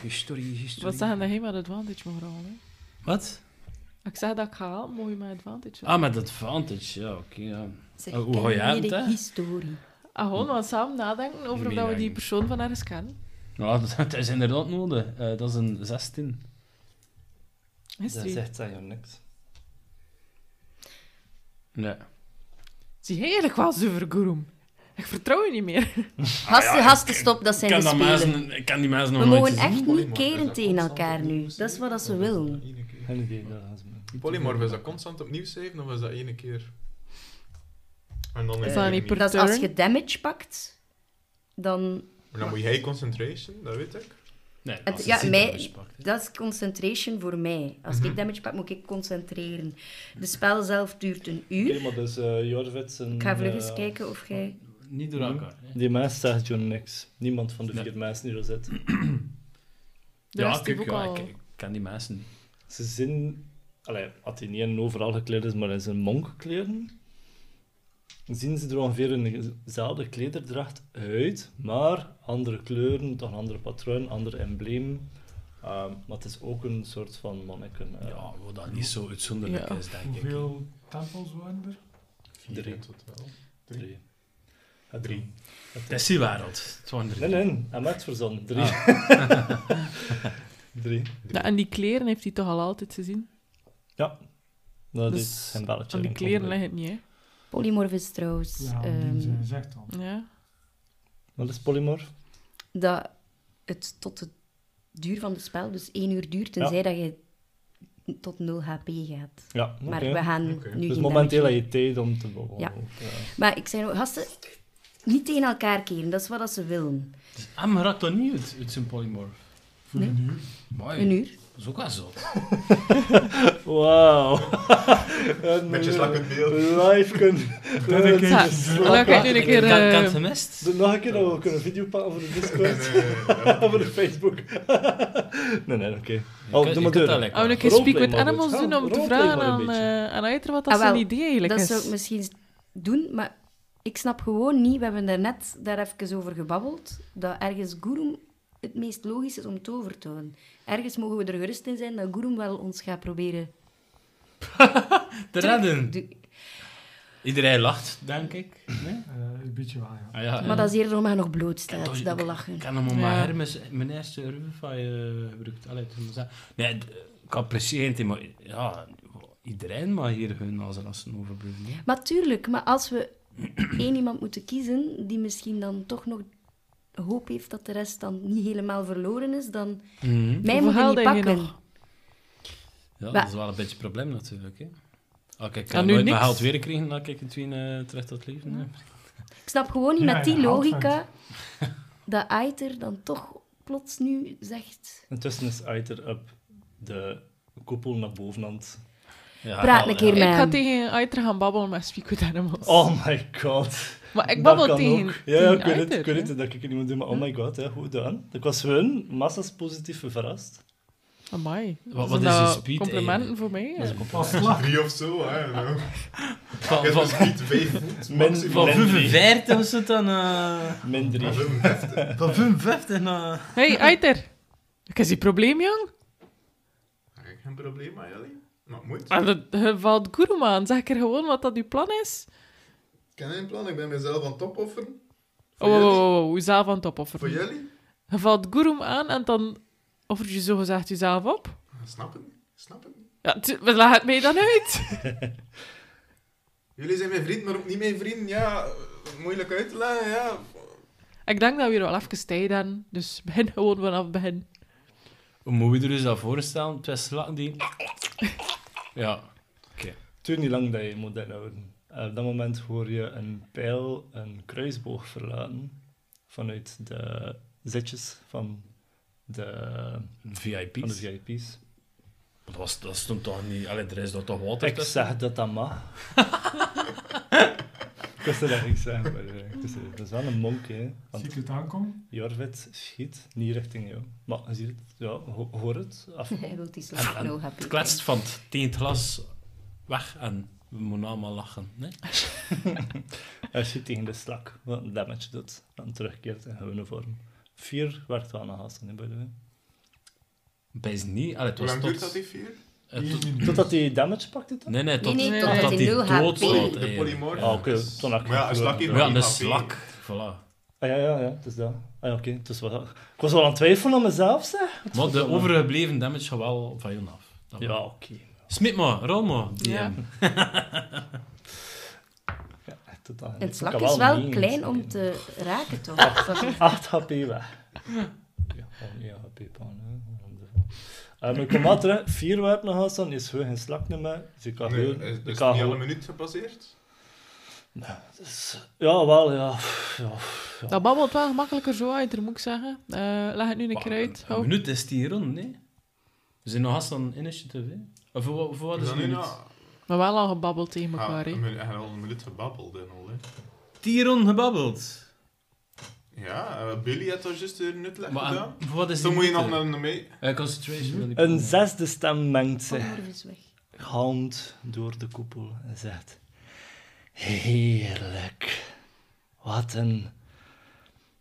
Speaker 2: History, history.
Speaker 9: Wat zeggen dat hij met advantage mag rollen?
Speaker 2: Wat?
Speaker 9: Ik zeg dat ik ga helpen, moet je met advantage rollen.
Speaker 2: Ah, met advantage, ja, oké. ja.
Speaker 1: Zeg,
Speaker 2: Oh, hoe
Speaker 1: kennen
Speaker 2: hou je
Speaker 1: jullie
Speaker 2: het,
Speaker 1: de
Speaker 2: hè?
Speaker 1: historie?
Speaker 9: Ah, gewoon wat samen nadenken over of dat we die
Speaker 2: Meedenken.
Speaker 9: persoon van ergens kennen.
Speaker 2: Nou, dat, dat is inderdaad nodig. Eh, dat is een 16.
Speaker 3: Dat
Speaker 9: History.
Speaker 3: zegt zij jou niks.
Speaker 2: Nee.
Speaker 9: Zie jij eigenlijk wel zuiver groom? Ik vertrouw je niet meer.
Speaker 1: Haste, haste, stop, dat
Speaker 2: Ah Ik
Speaker 1: zijn
Speaker 2: kan,
Speaker 1: de
Speaker 2: dat
Speaker 1: spelen.
Speaker 2: mensen- ik kan die mensen nog
Speaker 1: We
Speaker 2: nooit
Speaker 1: mogen
Speaker 2: gezien.
Speaker 1: echt niet
Speaker 10: Polymorf, is
Speaker 1: keren
Speaker 10: dat
Speaker 1: tegen
Speaker 10: constant
Speaker 1: elkaar
Speaker 10: opnieuw
Speaker 1: nu. Dat is
Speaker 10: zeven,
Speaker 1: wat dat ze
Speaker 10: of is dat
Speaker 1: willen.
Speaker 10: ene keer?
Speaker 3: Geen idee, dat gaan ze me.
Speaker 10: Polymorf, is dat constant opnieuw zeven of is dat ene keer? En dan
Speaker 9: Is
Speaker 10: eh,
Speaker 9: dat niet
Speaker 10: niet.
Speaker 9: per
Speaker 1: Dat is als
Speaker 9: turn?
Speaker 1: je damage pakt, dan...
Speaker 10: Maar dan moet jij concentration, dat weet ik.
Speaker 2: Nee,
Speaker 1: Het-
Speaker 2: als
Speaker 1: ja,
Speaker 2: het
Speaker 1: mij-
Speaker 2: damage pakt, hè.
Speaker 1: Dat is concentration voor mij. Als
Speaker 3: Mhm.
Speaker 1: ik damage pak, moet ik concentreren. De spel zelf duurt een
Speaker 3: Oké,
Speaker 1: uur.
Speaker 3: maar dus eh Jorvits en...
Speaker 1: Ik ga vlug eens
Speaker 3: eh,
Speaker 1: kijken of jij...
Speaker 2: Niet
Speaker 1: Mhm.
Speaker 2: door elkaar. hè.
Speaker 3: Die mens zegt John niks. Niemand van de
Speaker 2: Nee.
Speaker 3: vier mensen die er zit.
Speaker 9: De
Speaker 2: Ja,
Speaker 9: rest
Speaker 2: kijk,
Speaker 9: heeft
Speaker 2: ja,
Speaker 9: ook al-
Speaker 2: ik, ik ken die mensen.
Speaker 3: Ze zijn... Allee, had hij niet in overal gekleed is, maar in zijn monkenkleren. Zien ze er ongeveer in dezelfde klederdracht uit, maar andere kleuren, toch een andere patroon, ander embleem. Ehm, maar het is ook een soort van monniken. eh.
Speaker 2: Ja, wat dat niet zo uitzonderlijk
Speaker 9: Ja.
Speaker 2: is, denk ik.
Speaker 5: Hoeveel tempels waren er?
Speaker 10: Vier
Speaker 3: Drie.
Speaker 10: in totaal.
Speaker 3: Drie. Ah,
Speaker 10: Drie.
Speaker 2: Het is die wereld. Het waren er
Speaker 3: Nee,
Speaker 2: drie.
Speaker 3: nee, hij maakt verzon. Drie. Drie.
Speaker 9: Ja, en die kleren heeft hij toch al altijd gezien?
Speaker 3: Dat
Speaker 9: Dus
Speaker 3: Nou, is zijn belletje.
Speaker 9: Aan die kleren leg het niet, hè?
Speaker 1: Polymorf is trouwens...
Speaker 5: Ja,
Speaker 1: ehm,
Speaker 5: die ze zegt dan.
Speaker 9: Ja.
Speaker 3: Wat is polymorf?
Speaker 1: dat het tot de duur van het spel, dus één uur duurt, tenzij dat je tot 0 HP gaat.
Speaker 3: Ja, oké.
Speaker 1: Maar we gaan
Speaker 10: Oké.
Speaker 1: nu
Speaker 3: Dus
Speaker 1: geen
Speaker 3: momenteel heb
Speaker 1: damage
Speaker 3: je tijd om te bouwen.
Speaker 1: Ja. Maar ik zei nog, gasten, niet tegen elkaar keren, dat is wat dat ze willen.
Speaker 2: Ah, maar raakt dat niet uit, uit zijn polymorph.
Speaker 5: Voor een uur.
Speaker 2: Mooi.
Speaker 1: Een uur.
Speaker 2: Dat is ook wel zot.
Speaker 3: Wauw. Een
Speaker 10: Beetje slakkend beeld.
Speaker 3: Live kunnen...
Speaker 9: Ja, dan kan je nu een keer...
Speaker 2: kan, kan het
Speaker 9: eh,
Speaker 2: gemist?
Speaker 3: Doe nog een keer dat we ook een video pakken voor de
Speaker 10: En,
Speaker 3: Discord.
Speaker 10: eh, ja,
Speaker 3: Voor de Facebook. nee, nee, oké.
Speaker 2: Je
Speaker 3: Oh,
Speaker 2: kunt- je
Speaker 3: doe maar
Speaker 2: kunt
Speaker 3: door.
Speaker 2: dat lekker.
Speaker 9: Gaan we een keer
Speaker 3: Roleplay
Speaker 9: Speak with
Speaker 3: maar goed.
Speaker 9: Animals
Speaker 3: Gaan
Speaker 9: doen
Speaker 3: we
Speaker 9: om te
Speaker 3: roleplay
Speaker 9: vragen
Speaker 3: maar een
Speaker 9: aan,
Speaker 3: beetje.
Speaker 9: eh aan Aitra wat
Speaker 1: Ah,
Speaker 9: dat zijn
Speaker 1: wel,
Speaker 9: idee eigenlijk
Speaker 1: Dat
Speaker 9: is.
Speaker 1: zou ik misschien doen, maar ik snap gewoon niet, we hebben daarnet daar even over gebabbeld, dat ergens Gurum het meest logisch is om het over te houden. Ergens mogen we er gerust in zijn dat Gurum wel ons gaat proberen...
Speaker 2: Te redden.
Speaker 1: terug-
Speaker 2: Iedereen lacht, denk ik. Nee?
Speaker 5: Eh, een beetje wel, ja.
Speaker 2: Ah, ja,
Speaker 1: Maar
Speaker 2: ja.
Speaker 1: dat is eerder omdat je nog bloot
Speaker 2: Ja, toch,
Speaker 1: staat, dat we lachen.
Speaker 2: Ik kan hem om
Speaker 9: Ja.
Speaker 2: mijn Hermes, mijn eerste Rubify eh gebruikt. Allee, toen was dat- nee, d- ik apprecieer het, maar ja, iedereen mag hier hun als rassen overbrengen. hè.
Speaker 1: Maar tuurlijk, maar als we één iemand moeten kiezen die misschien dan toch nog hoop heeft dat de rest dan niet helemaal verloren is, dan
Speaker 2: Mhm.
Speaker 1: mij
Speaker 9: Hoeveel
Speaker 1: moet je niet
Speaker 9: geld heb je
Speaker 1: pakken.
Speaker 9: nog?
Speaker 2: Ja,
Speaker 1: Maar-
Speaker 2: dat is wel een beetje een probleem natuurlijk. Hè. Ah, kijk, ik
Speaker 9: Ja,
Speaker 2: heb
Speaker 9: nu
Speaker 2: nooit mijn
Speaker 9: niks.
Speaker 2: geld weer gekregen dat ik het weer eh, terecht had leven. hè.
Speaker 1: Ik snap gewoon niet
Speaker 5: Ja,
Speaker 1: met die
Speaker 5: ja,
Speaker 1: logica dat Aiter dan toch plots nu zegt...
Speaker 3: Intussen is Aiter up de koepel naar bovenhand.
Speaker 2: Ja,
Speaker 1: Praat
Speaker 2: wel,
Speaker 1: een keer
Speaker 2: ja.
Speaker 9: Ik ga
Speaker 1: met hem.
Speaker 9: tegen Aitra gaan babbelen met Speak with Animals.
Speaker 3: Oh my god.
Speaker 9: Maar ik
Speaker 3: Dat
Speaker 9: babbel
Speaker 3: kan
Speaker 9: tegen,
Speaker 3: ook. Ja,
Speaker 9: tegen
Speaker 3: ja, ik weet het,
Speaker 9: Aiter,
Speaker 3: ik weet
Speaker 9: hè.
Speaker 3: het, dat ik er niet moet doen, maar oh my god, ja, goed gedaan. Ik was hun massas positief verrast.
Speaker 9: Amai.
Speaker 2: Wat- wat
Speaker 9: Zijn
Speaker 2: is die
Speaker 9: dat
Speaker 3: dus
Speaker 2: speed
Speaker 9: Complimenten
Speaker 2: eigenlijk?
Speaker 3: eh?
Speaker 9: voor mij. hè?
Speaker 5: Pas slag.
Speaker 10: Drie of zo, hè. nou. Ik
Speaker 2: Van,
Speaker 10: heb
Speaker 2: van,
Speaker 10: dus niet vijf voet,
Speaker 2: van
Speaker 3: Min-
Speaker 10: maximaal.
Speaker 3: min- Landry.
Speaker 2: 45 was het dan... eh,
Speaker 3: Min drie.
Speaker 2: van 55 naar...
Speaker 9: Hey, Aiter. Ik heb die probleem, jong.
Speaker 10: Eigenlijk Ah, Geen probleem, maar jullie? Maar het moet.
Speaker 9: Maar
Speaker 3: Ah,
Speaker 9: dat je valt Gurum aan. Zeg er gewoon wat dat uw plan is.
Speaker 10: Ik heb geen plan, ik ben mezelf aan het opofferen. Voor
Speaker 9: Oh, oh,
Speaker 10: jullie?
Speaker 9: oh, oh, jezelf aan het
Speaker 10: Voor
Speaker 9: opofferen.
Speaker 10: jullie?
Speaker 9: Je valt Gurum aan en dan offert je zogezegd jezelf op.
Speaker 10: Ah, Snap het niet. Snap het niet.
Speaker 9: Ja, t- wat laat het mij dan uit?
Speaker 10: Jullie zijn mijn vriend, maar ook niet mijn vriend. Ja, eh, moeilijk uit te leggen, ja.
Speaker 9: ik denk dat we hier wel even tijd aan. Dus begin gewoon vanaf het begin.
Speaker 2: Hoe moet je er dus dat voorstellen? Twee slakken die... Ja.
Speaker 3: Het duurt niet lang dat je moet inhouden. Eh, op dat moment hoor je een pijl, een kruisboog verlaten vanuit de zetjes van de,
Speaker 2: VIP's.
Speaker 3: van de VIP's.
Speaker 2: Dat, was, dat stond toch niet... Allee, er is dat toch water
Speaker 3: Ik
Speaker 2: tussen?
Speaker 3: zeg dat dat mag. ik wist dat eigenlijk zeggen, maar eh, het is, het is wel een monk, hè. Want
Speaker 5: Zie ik het aankomen?
Speaker 3: Jorvit schiet niet richting jou. Maar je ziet het, ja, ho- hoor het. Af.
Speaker 1: Hij wil die slag
Speaker 2: En- en
Speaker 1: 0 HP.
Speaker 2: Het kletst van het tegen het glas weg en we moeten allemaal lachen. Nee?
Speaker 3: Hij schiet tegen de slak, wat een damage doet. Dan terugkeert in gewone vorm. Vier werkt wel aan haast, hè, by the way.
Speaker 2: Bijs niet. Allee, het
Speaker 10: Hoe
Speaker 2: was
Speaker 10: lang
Speaker 2: tot,
Speaker 10: duurt dat, die vier?
Speaker 2: eh, tot-
Speaker 3: Totdat hij damage pakte, toch?
Speaker 2: Nee, nee, tot,
Speaker 1: Nee,
Speaker 9: nee,
Speaker 2: tot
Speaker 9: nee,
Speaker 2: dat
Speaker 1: die
Speaker 2: die
Speaker 1: nul
Speaker 2: dood
Speaker 1: HP.
Speaker 2: slaat.
Speaker 10: De
Speaker 2: eigenlijk.
Speaker 10: polymorf.
Speaker 3: Ah, oké, toen had ik
Speaker 10: Maar ja, een
Speaker 3: het
Speaker 10: slak heeft
Speaker 2: Ja,
Speaker 10: nog
Speaker 2: een
Speaker 10: geen HP.
Speaker 2: slak. Voilà.
Speaker 3: Ah, ja, ja, ja, het is dat. Ah, ja, oké, het is wel... Ik was wel aan het twijfelen aan mezelf, zeg.
Speaker 2: Maar de overgebleven damage gaat wel van je af. Dat
Speaker 3: Ja,
Speaker 2: wel.
Speaker 3: oké.
Speaker 2: Smit maar, rol maar. eh. DM.
Speaker 9: Ja.
Speaker 3: Ja, totaal.
Speaker 1: En het
Speaker 3: Ik
Speaker 1: slak
Speaker 3: kan dus-
Speaker 1: is wel
Speaker 3: niet
Speaker 1: klein
Speaker 3: inspreken.
Speaker 1: om te raken, toch? Dat-
Speaker 3: 8 HP weg. Ja, oh, gewoon 1 HP pan, hè. Wonderful. Eh, maar ik kom maar terug. 4 werp nog aan staan, is gewoon geen slak meer. Dus ik kan
Speaker 10: Nee,
Speaker 3: heel...
Speaker 10: is,
Speaker 3: ik
Speaker 10: is
Speaker 3: kan
Speaker 10: niet al
Speaker 3: gewoon-
Speaker 10: een minuut gepasseerd?
Speaker 3: Ja, wel, ja. ja, ja.
Speaker 9: Dat babbelt wel gemakkelijker zo uit, moet ik zeggen. Eh, leg het nu een keer uit.
Speaker 2: Een,
Speaker 9: Hou.
Speaker 2: een minuut is die rond, nee? We zijn nog haast aan initiative, hè? Of voor, wat- voor wat is
Speaker 10: Dan
Speaker 2: een
Speaker 10: nu
Speaker 2: minuut?
Speaker 10: na-
Speaker 9: Maar wel al gebabbeld tegen
Speaker 10: Ah,
Speaker 9: elkaar, hè.
Speaker 10: een minu- Hij had al een minuut gebabbeld en al, hè.
Speaker 2: Tieron gebabbeld.
Speaker 10: Ja, eh, Billy had al juist een nutleg
Speaker 2: Maar
Speaker 10: gedaan.
Speaker 2: aan- voor wat is
Speaker 10: Dus dan
Speaker 2: die
Speaker 10: moet je nog
Speaker 2: minuten?
Speaker 10: naar naar mee.
Speaker 2: Eh, concentration. wil ik
Speaker 3: Een
Speaker 2: doen.
Speaker 3: zesde stem mengt zich
Speaker 1: Vanmorgen is weg.
Speaker 3: galmend door de koepel en zegt... Heerlijk. Wat een...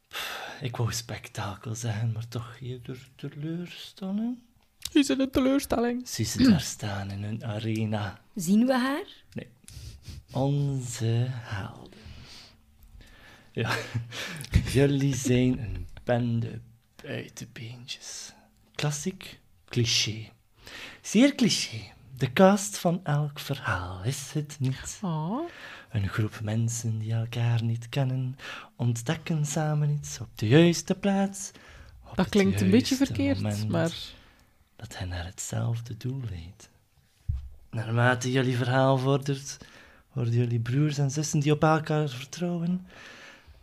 Speaker 3: Pff, Ik wou spektakel zeggen, maar toch eerder teleurstelling.
Speaker 9: Is het een teleurstelling?
Speaker 3: Zie ze daar staan in hun arena.
Speaker 1: Zien we haar?
Speaker 3: Onze helden. Ja, jullie zijn een bende buitenbeentjes. Klassiek cliché. Zeer cliché. De cast van elk verhaal is het niet.
Speaker 9: Oh.
Speaker 3: Een groep mensen die elkaar niet kennen, ontdekken samen iets op de juiste plaats. op
Speaker 9: Dat
Speaker 3: het
Speaker 9: klinkt een beetje
Speaker 3: juiste
Speaker 9: verkeerd,
Speaker 3: moment
Speaker 9: maar...
Speaker 3: dat hij naar hetzelfde doel leidt. Naarmate jullie verhaal vordert, worden jullie broers en zussen die op elkaar vertrouwen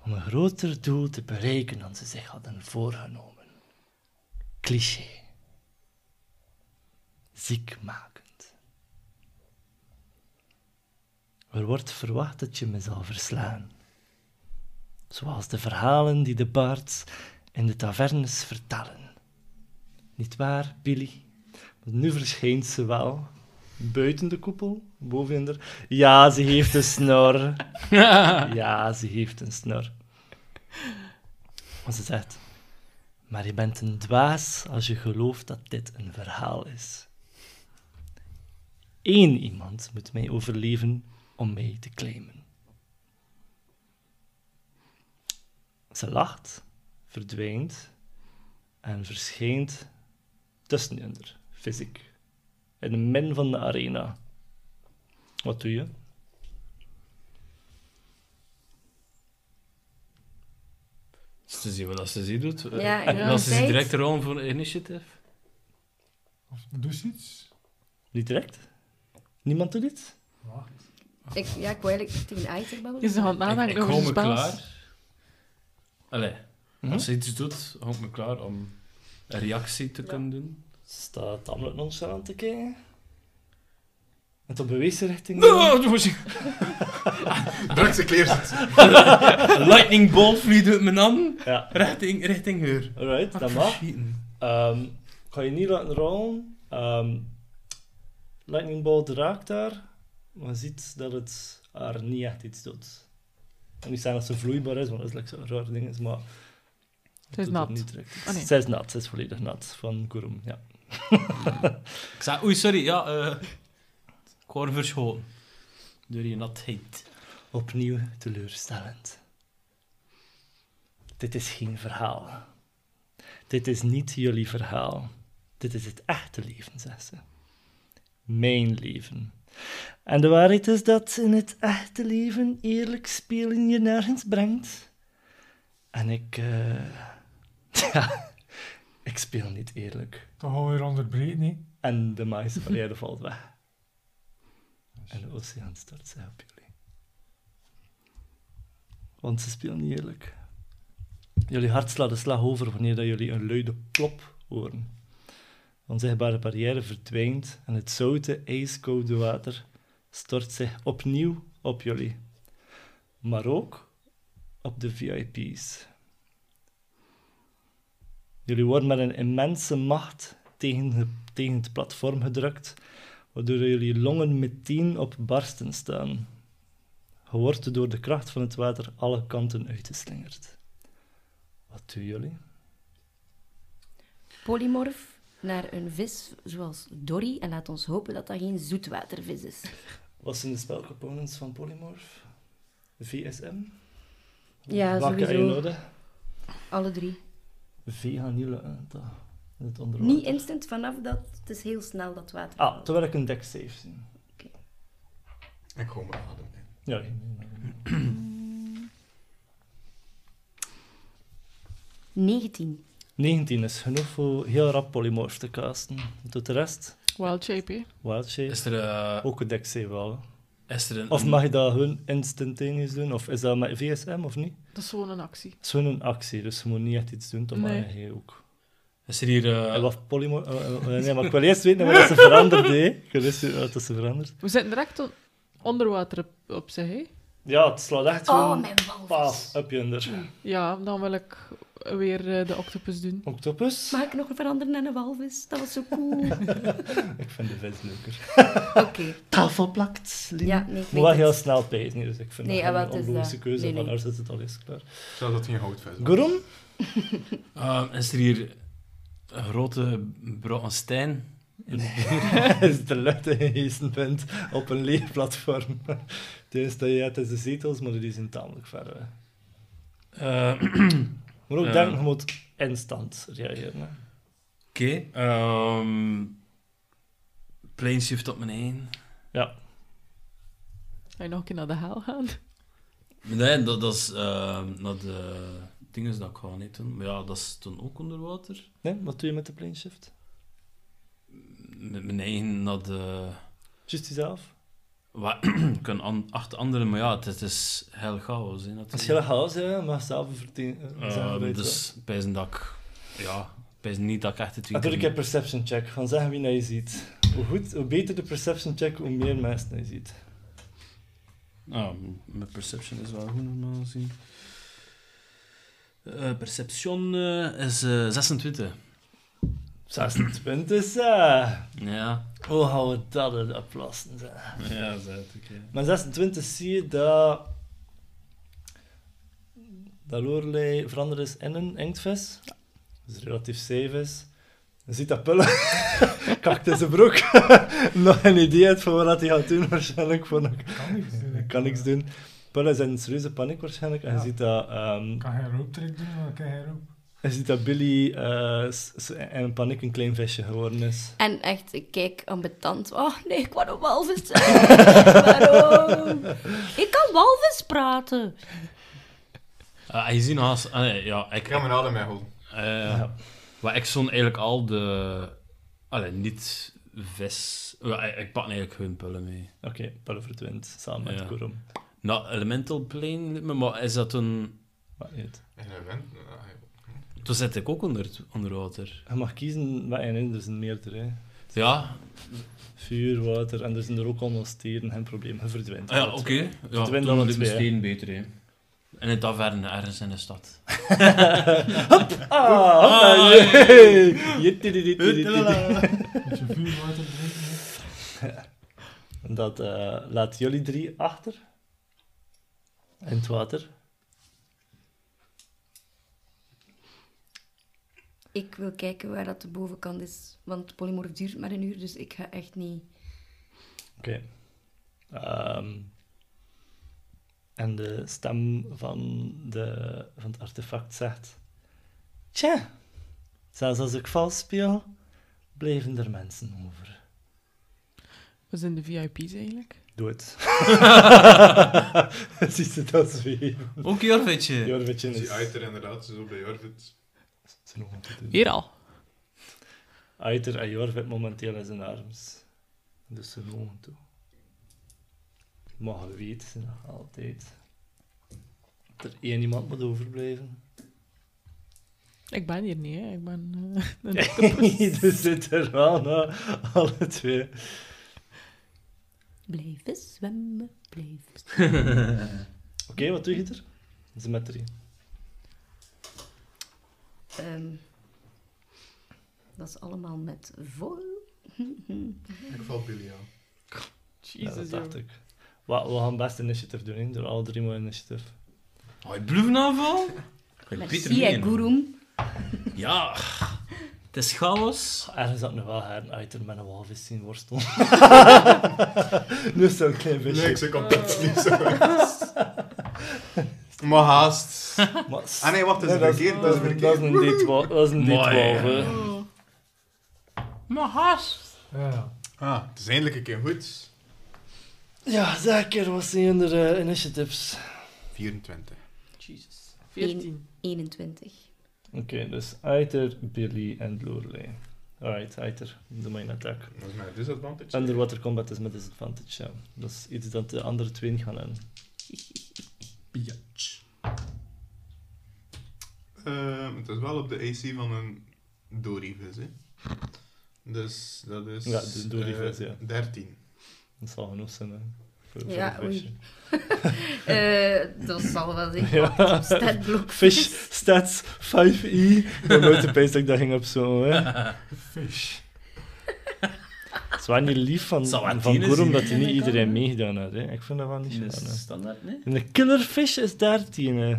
Speaker 3: om een groter doel te bereiken dan ze zich hadden voorgenomen. Cliché. Ziekmakend. Er wordt verwacht dat je me zal verslaan. Zoals de verhalen die de bards in de tavernes vertellen. Niet waar, Billy? Want nu verschijnt ze wel. Buiten de koepel, bovenin de... Ja, ze heeft een snor. ja, ze heeft een snor. Maar ze zegt... Maar je bent een dwaas als je gelooft dat dit een verhaal is. Eén iemand moet mij overleven om mij te claimen. Ze lacht, verdwijnt en verschijnt tussen onder, fysiek. In de min van de arena. Wat doe je?
Speaker 2: Dus te zien wat ze hier doet. Eh,
Speaker 1: Ja,
Speaker 2: en als ze zich
Speaker 1: tijd.
Speaker 2: direct rollen voor initiative.
Speaker 5: Of doe ze iets?
Speaker 3: Niet direct? Niemand doet dit?
Speaker 5: Wacht.
Speaker 1: Ik, ja, ik wou eigenlijk tegen Aiter babbelen.
Speaker 9: Is de hand
Speaker 2: ik ik
Speaker 9: nadenken over
Speaker 2: hou
Speaker 9: zijn
Speaker 2: me
Speaker 9: spels?
Speaker 2: klaar. Allee,
Speaker 3: Mhm.
Speaker 2: als ze iets doet, hou ik me klaar om een reactie te kunnen doen.
Speaker 3: Ze staat tamelijk nonchalant te kijken. En tot bewezen richting...
Speaker 2: Oh, moest ik-
Speaker 10: Druk ze kleer zit.
Speaker 2: Een lightning bolt vliegt uit mijn hand
Speaker 3: Ja,
Speaker 2: richting, richting haar.
Speaker 3: alright,
Speaker 2: Ah,
Speaker 3: dat mag. Ehm, ik ga je niet laten rollen. Ehm, lightning bolt raakt haar, maar je ziet dat het haar niet echt iets doet. En niet zeggen dat ze vloeibaar is, want dat is like zo'n raar ding, is, maar...
Speaker 9: Ze is
Speaker 3: doet er
Speaker 9: nat.
Speaker 3: Niet direct.
Speaker 9: Ah, nee.
Speaker 3: Zij is nat, zij is volledig nat van Kurum, ja.
Speaker 2: Ik zei, oei, sorry, ja, eh ik word verschoten. Door je natheid.
Speaker 3: Opnieuw teleurstellend. Dit is geen verhaal. Dit is niet jullie verhaal. Dit is het echte leven, zegt ze. Mijn leven. En de waarheid is dat in het echte leven eerlijk spelen je nergens brengt. En ik, eh, ja, ik speel niet eerlijk.
Speaker 5: Toch alweer onderbreken, nee?
Speaker 3: En de magische barrière valt weg. En de oceaan stort zich op jullie. Want ze spelen niet eerlijk. Jullie hart slaat de slag over wanneer dat jullie een luide plop horen. De onzichtbare barrière verdwijnt en het zoute, ijskoude water stort zich opnieuw op jullie. Maar ook op de VIP's. Jullie worden met een immense macht tegen, de- tegen het platform gedrukt, waardoor jullie longen meteen op barsten staan. Je wordt door de kracht van het water alle kanten uitgeslingerd. Wat doen jullie?
Speaker 1: Polymorf naar een vis zoals Dory. En laat ons hopen dat dat geen zoetwatervis is.
Speaker 3: Wat zijn de spelcomponents van Polymorph? VSM?
Speaker 1: Ja,
Speaker 3: Welke heb je
Speaker 1: sowieso.
Speaker 3: nodig?
Speaker 1: Alle drie.
Speaker 3: V gaat niet lukken, toch? In het onderwater.
Speaker 1: Niet instant vanaf dat. Het is heel snel dat water.
Speaker 3: Ah, terwijl ik een deck save zie.
Speaker 10: Ik kom mijn adem in.
Speaker 3: Ja, nee, nee, nee, nee.
Speaker 1: 19.
Speaker 3: 19 is genoeg voor heel rap polymorph te casten. Tot de rest,
Speaker 9: Wild shape, hè?
Speaker 3: wild shape.
Speaker 2: Is er, eh,
Speaker 3: Ook een deck save wel. hè.
Speaker 2: Is er een...
Speaker 3: Of mag je dat hun instantaneous doen? Of is dat met VSM of niet?
Speaker 9: Dat is gewoon een actie.
Speaker 3: Het is gewoon een actie, dus je moet niet echt iets doen, dan
Speaker 9: Nee.
Speaker 3: mag je ook.
Speaker 2: Is er hier... eh,
Speaker 3: En wat polymor... eh, eh, nee, maar ik wil eerst weten wat dat ze veranderd, hè. Ik wil eerst weten wat dat ze veranderd.
Speaker 9: We zitten direct on- onder water op, op zich, hè?
Speaker 3: Ja, het slaat echt
Speaker 1: Oh,
Speaker 3: gewoon
Speaker 1: mijn walvis.
Speaker 3: paas up yonder.
Speaker 9: Ja, dan wil ik weer eh, de octopus doen.
Speaker 3: Octopus?
Speaker 1: Mag ik nog veranderen naar een walvis? Dat was zo cool. Oké.
Speaker 3: Ik vind de vis leuker. Tafelplakt,
Speaker 1: Ja, nee, ik
Speaker 3: Moet wel
Speaker 1: weet
Speaker 3: heel
Speaker 1: het.
Speaker 3: snel pezen, dus ik vind
Speaker 1: Nee,
Speaker 3: dat
Speaker 1: en
Speaker 3: een
Speaker 1: wat is
Speaker 3: onlogische
Speaker 1: dat?
Speaker 3: keuze,
Speaker 1: Nee,
Speaker 3: van
Speaker 1: nee.
Speaker 3: haar zit het al eens klaar.
Speaker 10: Zelfs dat geen houtvis was.
Speaker 3: Gorom?
Speaker 2: eh, is er hier een grote Bronstein?
Speaker 3: is de lutte gehezen bent op een leeg platform. Het enige dat je hebt is de zetels, maar die zijn tamelijk ver weg.
Speaker 2: Eh
Speaker 3: Maar ook
Speaker 2: Ja.
Speaker 3: denken, je moet instant reageren. hè.
Speaker 2: Oké. Ehm planeshift op mijn heen.
Speaker 9: Ga je nog een keer naar de hel gaan?
Speaker 2: Nee, dat, dat is... ehm naar de dingen dat ik gewoon niet doen. Maar ja, dat is toen ook onder water.
Speaker 3: Nee, wat doe je met de plane shift?
Speaker 2: Met mijn eigen naar de...
Speaker 3: Just jezelf.
Speaker 2: Wa- ik kan an- achter anderen, maar ja, het, het is heel chaos. Hè,
Speaker 3: Het is heel chaos, hè, maar zelf verteen. eh, zelf
Speaker 2: chaos.
Speaker 3: weten.
Speaker 2: dus bij zijn dat ik... Ja, bij zijn niet dat ik echt het
Speaker 3: En doe
Speaker 2: weekend-
Speaker 3: dus ik een perception check. Gaan zeggen wie dat je ziet. Hoe, goed, hoe beter de perception check, hoe meer mensen dat je ziet.
Speaker 2: Ah, m- mijn perception is wel goed normaal gezien. Eh, perception eh, is eh, 26.
Speaker 3: 26. eh.
Speaker 2: Ja.
Speaker 3: Hoe gaan we dat in de plassen? zeg.
Speaker 2: Ja, dat ik.
Speaker 3: Maar 26 zie je dat. dat Lorelei veranderd is in een inktvis. Dus relatief safe is. Je ziet dat pullen. Kakt in zijn broek. Nog geen idee uit van wat hij gaat doen, waarschijnlijk. Voor nog...
Speaker 5: Kan niks doen. hè.
Speaker 3: Kan niks doen. Pullen zijn in serieuze paniek, waarschijnlijk. En je
Speaker 5: Ja.
Speaker 3: ziet dat. ehm,
Speaker 5: Kan geen rooptrick doen, maar dan kan geen roop.
Speaker 3: je ziet dat Billy eh, s- s- in paniek een klein visje geworden is.
Speaker 1: En echt, ik kijk ambetant. Oh nee, ik wou een walvis zijn. Waarom? Ik kan walvis praten.
Speaker 2: je ziet nog als. ah, nee, ja, ik.
Speaker 10: Ik ga mijn adem houden.
Speaker 2: eh, Wat ik zo'n eigenlijk al de. Allee, niet vis. Wel, eh, Ik, ik pak eigenlijk hun pullen mee.
Speaker 3: Oké, pullen verdwijnt samen met
Speaker 2: Ja.
Speaker 3: Kurum.
Speaker 2: Nou, Elemental Plane, lijkt me, maar is dat een.
Speaker 3: Maakt niet uit.
Speaker 10: En hij wint. Ah,
Speaker 2: Toen zit ik ook onder, onder water.
Speaker 3: Je mag kiezen wat je in, er zijn meerdere. hè.
Speaker 2: Ja,
Speaker 3: Vuur, water, en er zijn er ook allemaal steren, geen probleem, je verdwijnt.
Speaker 2: ah, ja oké. Ja,
Speaker 3: Verdwijnt
Speaker 2: toen
Speaker 3: alle
Speaker 2: lijkt me
Speaker 3: twee, hè.
Speaker 2: steen beter, hè. In een taverne, ergens in de stad.
Speaker 3: Ah,
Speaker 2: Ah,
Speaker 3: hoppa, jee. Jittididididididi.
Speaker 5: Met je vuur water drinken. hè.
Speaker 3: Dat eh, laat jullie drie achter. In het water.
Speaker 1: Ik wil kijken waar dat de bovenkant is. Want polymorf duurt maar een uur, dus ik ga echt niet...
Speaker 3: Oké. Ehm, en de stem van, de, van het artefact zegt... Tja, zelfs als ik vals speel, bleven er mensen over.
Speaker 9: We zijn de VIP's eigenlijk.
Speaker 3: Doe het. Ziet ze dat zweven?
Speaker 2: Ook Jorvetje.
Speaker 3: Jorvetje
Speaker 10: Ik
Speaker 3: is...
Speaker 10: zie Aiter inderdaad zo bij Jorvit.
Speaker 3: dus- is nog aan het doen.
Speaker 9: Hier al.
Speaker 3: Aiter en Jorvit momenteel in zijn arms. Dus ze wonen toe. Maar je weet ze nog altijd. Dat er één iemand moet overblijven.
Speaker 9: Ik ben hier niet, hè. Ik ben... eh, een
Speaker 3: Ze zitten er aan, hè. alle twee.
Speaker 1: Blijven zwemmen, blijven zwemmen.
Speaker 3: Oké, wat doe je er? Ze zijn met drie.
Speaker 1: Ehm, dat is allemaal met vol.
Speaker 10: Ik val Billy aan.
Speaker 3: Ja, dat
Speaker 9: Jesus,
Speaker 3: dacht
Speaker 9: joh.
Speaker 3: ik. Wa- We gaan best initiatief doen, hè. door alle drie maar initiatief.
Speaker 2: Oh, je bloedenaanval?
Speaker 1: Merci, hè, Gurum.
Speaker 2: Ja, het is chaos.
Speaker 3: Ergens had ik nog wel haar uiter met een walvis zien worstelen. nu is zo'n klein visje.
Speaker 10: Nee, ik zeg altijd niet zo. Maar haast.
Speaker 3: Maar-
Speaker 10: Ah nee, wacht, dat is
Speaker 3: Nee,
Speaker 10: verkeerd.
Speaker 3: Dat
Speaker 10: Dat
Speaker 3: is
Speaker 10: is
Speaker 3: een-
Speaker 10: verkeerd.
Speaker 3: dat is een D12. Dat is een
Speaker 2: Mooi.
Speaker 3: D12. hè.
Speaker 2: Maar haast.
Speaker 5: Ja.
Speaker 10: Ah, het is eindelijk een keer goed.
Speaker 3: Ja, zeker. Wat zijn er eh, initiatives?
Speaker 10: 24.
Speaker 9: Jesus. 14.
Speaker 1: 21.
Speaker 3: Oké, dus Aether, Billy en Lorelei. Alright, Aether, doe mijn attack.
Speaker 10: Dat is mijn disadvantage.
Speaker 3: Underwater combat is met disadvantage, ja. Dat is iets dat de andere twee niet gaan hebben.
Speaker 10: Ehm, het is wel op de AC van een Dorivis, hè. Dus dat is...
Speaker 3: Ja, de Dorivis,
Speaker 10: eh,
Speaker 3: ja.
Speaker 10: 13.
Speaker 3: Dat zal genoeg zijn, hè. Voor, voor
Speaker 1: Ja,
Speaker 3: een
Speaker 1: oei.
Speaker 3: visje.
Speaker 1: Eh, dat zal wel zijn.
Speaker 3: Ja.
Speaker 1: Statblok.
Speaker 3: Fish, stats, 5i. Ik ben nooit opeens dat ik dat ging op zo, hè.
Speaker 5: Fish.
Speaker 3: Het is wel niet lief van,
Speaker 2: Het zal wel
Speaker 3: van
Speaker 2: tien
Speaker 3: Gorum
Speaker 2: zijn.
Speaker 3: dat hij
Speaker 1: Ja,
Speaker 3: niet
Speaker 1: dat kan,
Speaker 3: iedereen
Speaker 1: hè.
Speaker 3: meegedaan had, hè. Ik vind dat wel niet
Speaker 2: Dat
Speaker 3: gedaan, hè.
Speaker 2: is standaard, nee?
Speaker 3: En de killerfish is 13, hè.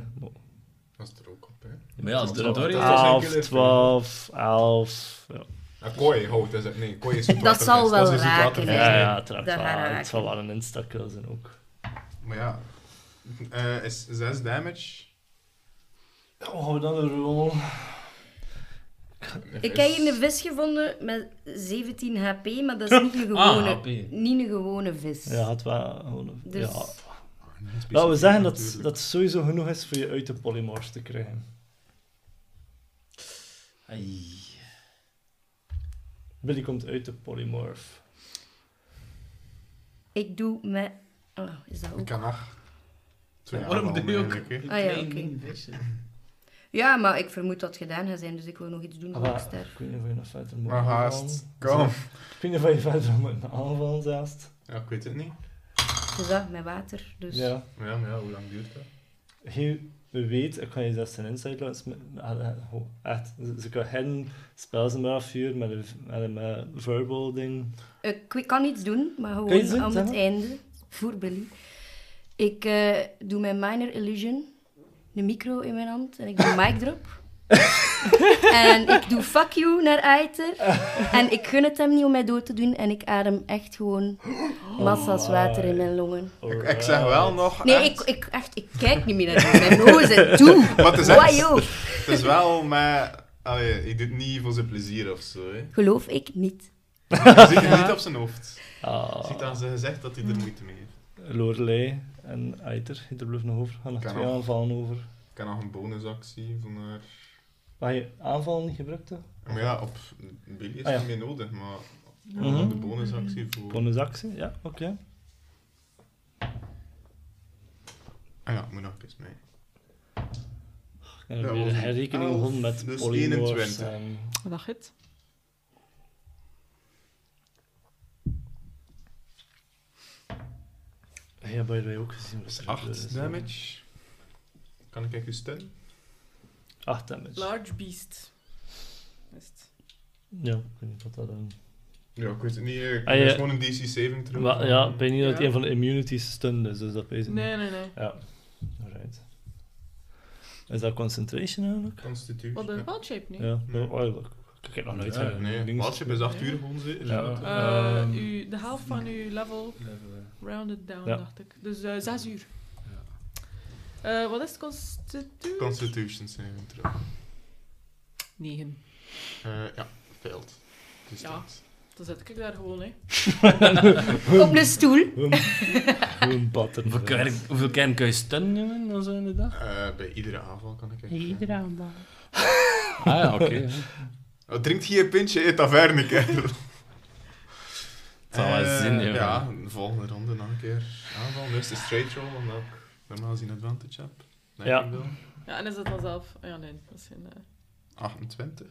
Speaker 10: Dat is er ook op, hè.
Speaker 2: Maar ja, Ah. als de
Speaker 10: Dat
Speaker 2: Dory
Speaker 10: is een
Speaker 3: 12,
Speaker 10: killerfish.
Speaker 3: 12, 11. Ja,
Speaker 10: Een kooi, hout. Dat is, nee, kooi is zoet
Speaker 1: Dat zal
Speaker 10: watervis,
Speaker 1: wel
Speaker 10: dat is dus een zoet
Speaker 1: raken,
Speaker 10: watervis,
Speaker 1: hè.
Speaker 3: ja,
Speaker 10: hè.
Speaker 3: ja het raakt
Speaker 1: dat
Speaker 3: wel
Speaker 1: gaat
Speaker 3: aan.
Speaker 1: raken.
Speaker 3: Het zal wel een instakill zijn ook.
Speaker 10: Maar ja, eh, is 6 damage.
Speaker 3: Oh, dan een rol.
Speaker 1: Ik heb hier een vis gevonden met 17 HP, maar dat is niet een gewone,
Speaker 2: Ah, HP.
Speaker 1: niet een gewone vis.
Speaker 3: Ja, het wel gewoon een-
Speaker 1: Dus
Speaker 3: ja.
Speaker 10: Oh,
Speaker 3: Laten we zeggen dat, dat het sowieso genoeg is voor je uit de polymorph te krijgen.
Speaker 2: Ai.
Speaker 3: Billy komt uit de polymorph.
Speaker 1: ik doe met... Oh, is dat
Speaker 10: Ik
Speaker 1: ook?
Speaker 10: kan nog. Twee
Speaker 2: Waarom
Speaker 10: aanvallen
Speaker 2: doe je ook-
Speaker 10: eigenlijk, hè.
Speaker 1: Ah, ja,
Speaker 2: Klein
Speaker 1: oké.
Speaker 2: ding, visje.
Speaker 1: Ja, maar ik vermoed dat het gedaan gaat zijn, dus ik wil nog iets doen voor
Speaker 3: Ah,
Speaker 1: ik sterf.
Speaker 3: ik weet niet of je nog verder moet
Speaker 10: Maar haast.
Speaker 3: aanvallen.
Speaker 10: Kom.
Speaker 3: Ik weet niet of je verder moet aanvallen zelfs.
Speaker 10: Ja, ik weet het niet.
Speaker 1: Dus dat, met water. Dus
Speaker 3: Ja.
Speaker 10: Maar ja, maar ja, hoe lang duurt dat?
Speaker 3: Je weet, ik kan je dat zijn insight laten sm- ah, eh, oh, Echt, ze, ze kan geen spels meer afvuren met een, met een eh, verbal ding.
Speaker 1: Eh, ik weet- kan iets doen, maar
Speaker 3: Kan je
Speaker 1: gewoon
Speaker 3: iets doen?
Speaker 1: aan
Speaker 3: Zeg
Speaker 1: het
Speaker 3: maar.
Speaker 1: einde. Voor Billy. Ik eh, doe mijn minor illusion, een micro in mijn hand, en ik doe mic drop. en ik doe fuck you naar Aether. en ik gun het hem niet om mij dood te doen. En ik adem echt gewoon
Speaker 3: Oh
Speaker 1: massa's water in mijn longen.
Speaker 10: Ik, ik zeg
Speaker 3: eh,
Speaker 10: wel nog.
Speaker 1: Nee,
Speaker 10: echt-
Speaker 1: ik, ik, echt, ik kijk niet meer naar hem. Mijn ogen zijn toe.
Speaker 10: Maar het is echt-
Speaker 1: Wajo.
Speaker 10: Het is wel, maar. Allee, ik doe het niet voor zijn plezier of zo. Hè.
Speaker 1: Geloof ik niet.
Speaker 10: Je ziet het niet op zijn hoofd. Je
Speaker 3: Ah,
Speaker 10: ziet aan zijn gezicht dat
Speaker 1: Hmm.
Speaker 10: hij er moeite mee heeft.
Speaker 3: Lorelei en Aether, er blijft nog over. Er gaan nog
Speaker 10: Kan
Speaker 3: twee
Speaker 10: nog.
Speaker 3: aanvallen over.
Speaker 10: Ik kan nog een bonusactie van haar.
Speaker 3: Waar je aanval niet gebruikt hè?
Speaker 10: Maar ja, op Billy is
Speaker 3: Ah, ja.
Speaker 10: het niet nodig, maar.
Speaker 3: Mhm.
Speaker 10: De bonusactie voor.
Speaker 3: Bonusactie, ja, oké.
Speaker 10: Ah ja, ik moet nog eens mee.
Speaker 3: En
Speaker 10: Ja,
Speaker 3: dan weer
Speaker 10: was een
Speaker 3: herrekening
Speaker 10: elf,
Speaker 3: begonnen met ehm,
Speaker 10: dus
Speaker 3: polymorphs
Speaker 10: 21.
Speaker 3: en...
Speaker 9: Dag het.
Speaker 3: Ja, bij wij ook gezien. wat er eh, gebeurd is,
Speaker 10: 8
Speaker 3: hè.
Speaker 10: damage. Kan ik even stunnen?
Speaker 3: 8 eh, damage.
Speaker 9: Large beast. Is het.
Speaker 3: Ja, ik weet niet wat dat dan...
Speaker 10: Ja, ik weet het niet. eh,
Speaker 3: Ah,
Speaker 10: Het
Speaker 3: ja.
Speaker 10: is gewoon een DC 7 terug. Eh,
Speaker 3: Maar ja, ik weet niet dat het
Speaker 9: Ja.
Speaker 3: een van de immunities stunned is, dus dat weet ik niet.
Speaker 9: Nee, nee, nee.
Speaker 3: Ja, alright. Is dat concentration eigenlijk?
Speaker 10: Constitution. eh,
Speaker 9: Wat een
Speaker 10: ja.
Speaker 9: wild shape nu?
Speaker 3: Ja,
Speaker 10: Nee.
Speaker 3: oh, oh, ik ik heb nog nooit
Speaker 2: Ja,
Speaker 3: van-
Speaker 10: Nee,
Speaker 3: links-
Speaker 10: Walship is 8 uur gewoon zeker.
Speaker 3: Ja.
Speaker 10: Ja.
Speaker 9: Eh,
Speaker 2: Ehm,
Speaker 9: u, de helft van uw level
Speaker 10: Eh,
Speaker 9: rounded down,
Speaker 3: Ja.
Speaker 9: dacht ik. Dus eh, zes uur.
Speaker 2: Ja.
Speaker 9: Eh, wat is het? Constitu?
Speaker 10: Constitution 7 terug.
Speaker 9: Negen.
Speaker 10: Eh, ja, failed. Dus
Speaker 9: Ja.
Speaker 10: dat.
Speaker 9: Dan zit ik daar gewoon, hè.
Speaker 1: Op een stoel.
Speaker 3: Gewoon batten.
Speaker 2: Hoeveel kern- Hoeveel kern kun je stunnen, jongen, dan zo in de dag?
Speaker 10: Eh, bij iedere aanval kan ik echt... eh.
Speaker 7: aanbouw.
Speaker 2: Ah ja, oké. ja.
Speaker 10: Oh, drinkt hier een pintje in taverne, kerel.
Speaker 2: Het zal wel
Speaker 10: Eh,
Speaker 2: zin, joh.
Speaker 10: Ja, de volgende ronde nog een keer aanval. Nu is de straight roll, omdat ik normaal zien advantage heb. Denk
Speaker 3: Ja.
Speaker 10: ik wel.
Speaker 9: Ja, en is dat dan zelf? Ah, Ja, nee. Dat is geen, eh.
Speaker 10: 28.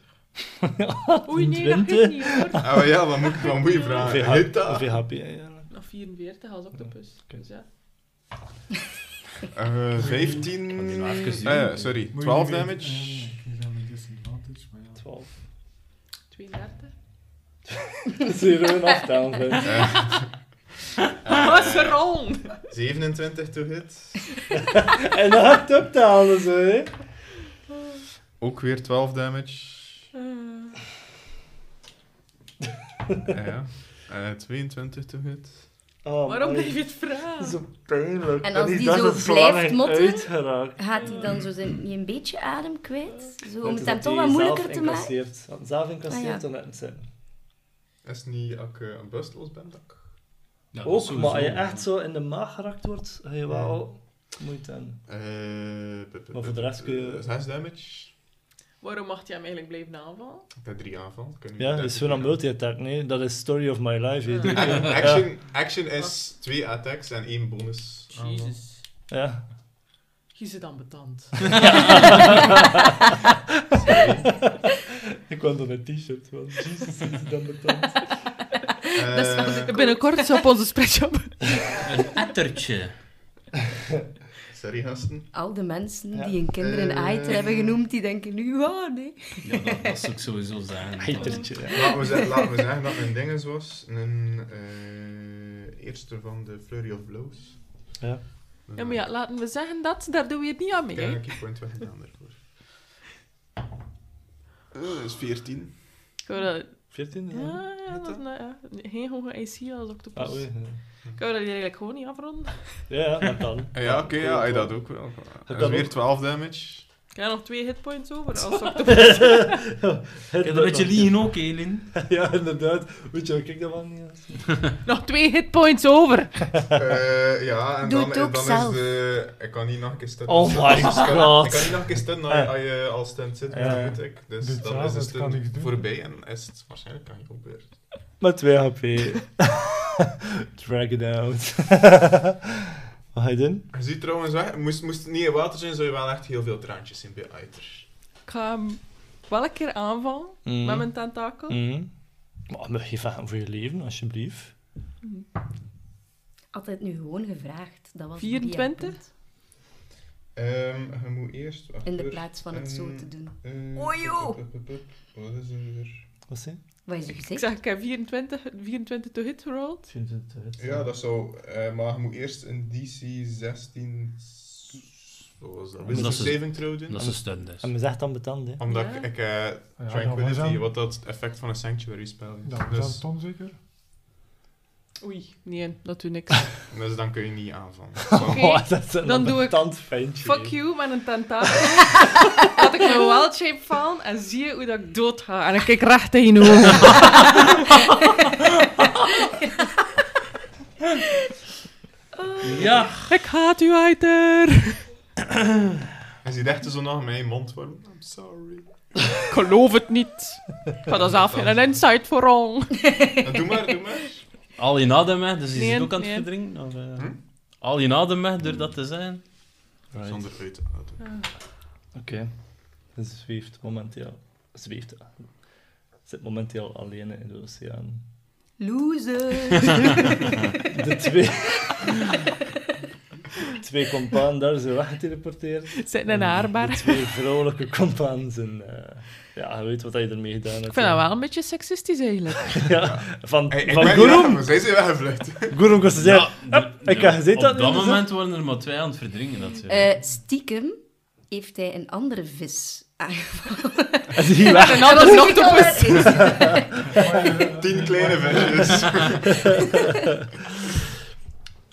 Speaker 9: Oei, nee, dat is
Speaker 3: 20?
Speaker 9: niet, hoor. Eh,
Speaker 10: Ah, ja, wat moet ik van moeie vragen?
Speaker 3: Hoeveel
Speaker 10: Ah, Hit
Speaker 3: H-
Speaker 10: dat?
Speaker 3: hoeveel HP eigenlijk?
Speaker 9: Nog 44 als octopus. Dus ja.
Speaker 10: Eh, 15...
Speaker 2: Kan die nou even zien?
Speaker 10: Eh, sorry,
Speaker 5: Moet je
Speaker 10: 12
Speaker 5: niet
Speaker 10: damage.
Speaker 5: weten. Eh, Ik geef hem een disadvantage, maar ja.
Speaker 3: 12.
Speaker 9: 32.
Speaker 3: Zero en half down, vriend.
Speaker 10: Eh.
Speaker 9: Wat is er wrong?
Speaker 10: 27 to hit.
Speaker 3: En dan hard up te halen, zo, hè?
Speaker 10: Ook weer 12 damage.
Speaker 9: Eh,
Speaker 10: Ja, ja. Eh, 22 to hit.
Speaker 3: Oh, man.
Speaker 9: waarom blijf je het vragen?
Speaker 3: Zo pijnlijk.
Speaker 1: En
Speaker 3: Dat
Speaker 1: als
Speaker 3: is
Speaker 1: die
Speaker 3: dat
Speaker 1: zo
Speaker 3: het zo lang
Speaker 1: blijft
Speaker 3: in
Speaker 1: motten?
Speaker 3: Uitgeraakt.
Speaker 1: Gaat hij dan zo zijn, niet een beetje adem kwijt? Zo, om
Speaker 3: Want
Speaker 1: het
Speaker 3: dat
Speaker 1: hem toch
Speaker 3: die
Speaker 1: wat moeilijker
Speaker 3: zelf
Speaker 1: te maken?
Speaker 3: incasseert. Had Zelf incasseerd
Speaker 1: Ah, ja.
Speaker 3: dan net zijn.
Speaker 10: Is het niet dat ik eh, aan bewusteloos ben? Dat ik...
Speaker 2: Ja, dat is
Speaker 3: Ook, maar als je
Speaker 2: sowieso.
Speaker 3: echt zo in de maag geraakt wordt, heb je wel moeite aan.
Speaker 10: Eh, p- p-
Speaker 3: Maar voor de rest kun je-
Speaker 10: eh, 6 damage.
Speaker 9: Waarom mag hij hem eigenlijk blijven aanvallen?
Speaker 10: Ik heb drie aanval. Kunnen we
Speaker 3: Ja,
Speaker 10: die
Speaker 3: dat is
Speaker 10: daar
Speaker 3: wel een
Speaker 10: doen?
Speaker 3: multi-attack, nee. Dat is story of my life. hè. Drie keer.
Speaker 9: Ja.
Speaker 10: Action, action is twee attacks en één bonus.
Speaker 2: Ah,
Speaker 10: aanval.
Speaker 11: Jezus.
Speaker 3: Ja.
Speaker 9: Je zit aan betand.
Speaker 3: Eh, Ik kwam door mijn t-shirt, wel. Jesus, is dan betaald.
Speaker 10: Eh,
Speaker 1: Dat is wel de-
Speaker 9: Binnenkort op onze spreadshop.
Speaker 11: Een ettertje.
Speaker 10: Sorry, gasten.
Speaker 1: Al de mensen
Speaker 3: Ja.
Speaker 1: die hun kinderen
Speaker 10: Eh.
Speaker 1: Aiter hebben genoemd, die denken nu, oh nee.
Speaker 11: Ja, dat, dat zou ik sowieso zeggen.
Speaker 3: Eitertje, ja.
Speaker 10: Laten we, zeggen, laten we zeggen dat mijn dinges was. Een eh, eerste van de Flurry of Blows. Eh,
Speaker 3: Ja.
Speaker 9: Ja, maar ja, laten we zeggen dat, daar doen we het niet aan mee.
Speaker 10: Ik heb
Speaker 9: hè.
Speaker 10: een keypoint weggedaan daarvoor. Eh, dat is 14.
Speaker 9: Ik wou dat...
Speaker 3: 14?
Speaker 9: Ja,
Speaker 3: Ja.
Speaker 9: ja, dat is nou, ja. Geen hoge IC als octopus.
Speaker 3: Ah, oei.
Speaker 9: Ik wou dat hier eigenlijk gewoon niet afronden.
Speaker 3: Ja, ja, dat kan.
Speaker 10: Eh, ja, oké, ja, hij dat ook wel. Dat is
Speaker 3: kan
Speaker 10: weer
Speaker 3: ook.
Speaker 10: 12 damage.
Speaker 9: Ik heb nog twee hitpoints over als octopus.
Speaker 11: Ik heb een beetje liegen ook, Elin.
Speaker 3: Ja, inderdaad. Weet je, kijk dat wel niet. aan.
Speaker 9: nog twee hitpoints over.
Speaker 10: Eh, ja, en
Speaker 1: Doe
Speaker 10: dan,
Speaker 1: het ook
Speaker 10: dan
Speaker 1: zelf.
Speaker 10: is de... Ik kan niet nog een keer stunnen.
Speaker 3: Oh my god.
Speaker 10: Ik kan niet nog een keer stunnen als je- als je al stunt zit,
Speaker 3: Ja.
Speaker 10: weet ik. Dus
Speaker 5: Doe het
Speaker 10: dan
Speaker 5: zelf,
Speaker 10: is de
Speaker 5: dat kan
Speaker 10: stun
Speaker 5: ik doen.
Speaker 10: voorbij en is het waarschijnlijk aan je ook weer.
Speaker 3: Maar 2 HP. Drag it out. Wat ga je doen?
Speaker 10: Je ziet trouwens weg, moest, moest het niet in water zijn, zou je wel echt heel veel traantjes zien bij Uiter.
Speaker 9: Ik ga hem wel een keer aanvallen
Speaker 3: Mm.
Speaker 9: met mijn tentakel.
Speaker 3: Mhm. Maar mag je vragen voor je leven, alsjeblieft? Mm.
Speaker 1: Altijd nu gewoon gevraagd. Dat was
Speaker 9: 24?
Speaker 1: die punt.
Speaker 10: Ehm, je moet eerst... wacht,
Speaker 1: In de
Speaker 10: hoor.
Speaker 1: plaats van het zo
Speaker 10: Ehm,
Speaker 1: te doen.
Speaker 10: eh,
Speaker 1: Ojo!
Speaker 10: pup, pup, pup, pup. Wat is er weer?
Speaker 3: Wat zei
Speaker 1: Wat is er
Speaker 9: Ik
Speaker 1: gezegd?
Speaker 9: zeg, ik heb 24, 24 to hit gerold.
Speaker 3: 24.
Speaker 10: Ja, dat zou... eh, maar je moet eerst een DC 16... s- Wat was dat? Wisdom
Speaker 2: dat is-
Speaker 10: saving throw doen?
Speaker 2: Dat is een stun dus.
Speaker 3: En me zegt dan betand, hè?
Speaker 10: Omdat
Speaker 9: Ja.
Speaker 10: ik... ik eh,
Speaker 5: Ja,
Speaker 10: Tranquility,
Speaker 5: dat was hem.
Speaker 10: wat dat effect van een sanctuary spel is.
Speaker 5: Dat is
Speaker 10: dus,
Speaker 5: aan Tom zeker?
Speaker 9: Oei, nee, dat doet niks.
Speaker 10: dus dan kun je niet aanvallen.
Speaker 3: Oh, dat is een
Speaker 9: dan doe ik-
Speaker 3: ambetant ventje.
Speaker 9: Fuck you met een tentakel. Laat ik mijn wild shape vallen en zie je hoe dat ik dood ga. En ik kijk recht in je ogen.
Speaker 11: Ja.
Speaker 9: Ik haat u, Aiter.
Speaker 10: Hij ziet echt zo nog mijn mond worden. I'm sorry.
Speaker 9: Ik geloof het niet. Ik ga dat zelf geen insight voor om.
Speaker 10: Ja, doe maar, doe maar.
Speaker 2: Al je adem weg, dus je
Speaker 9: Nee,
Speaker 2: zit ook aan het
Speaker 9: nee.
Speaker 2: verdrinken. Of, eh,
Speaker 10: Hm?
Speaker 2: Al je adem weg door dat te zijn.
Speaker 3: Right.
Speaker 10: Zonder uit te houden.
Speaker 3: Oké. Dus ze zweeft momenteel... Zweeft... eh, Zit momenteel alleen in de oceaan.
Speaker 1: Loser!
Speaker 3: De twee... twee compaan daar zijn weggeteleporteerd.
Speaker 9: Zit in een
Speaker 3: De
Speaker 9: haarbaar.
Speaker 3: twee vrolijke compaans. En, eh, ja, je weet wat je ermee gedaan hebt.
Speaker 9: Ik vind dat wel een beetje seksistisch eigenlijk.
Speaker 3: Ja, van,
Speaker 10: Hey, ik
Speaker 3: van
Speaker 10: ben
Speaker 3: Gurum.
Speaker 10: Ja, zij zijn weggevlucht.
Speaker 3: Gurum kost te zeggen...
Speaker 2: Ja,
Speaker 3: ik heb gezien
Speaker 2: Op
Speaker 3: dat
Speaker 2: dat
Speaker 3: nu dus, hè?
Speaker 2: moment worden er maar twee aan het verdrinken. natuurlijk.
Speaker 1: Eh, stiekem heeft hij een andere vis aangevallen.
Speaker 3: En die weg.
Speaker 9: En anders een octopus.
Speaker 10: Tien kleine visjes.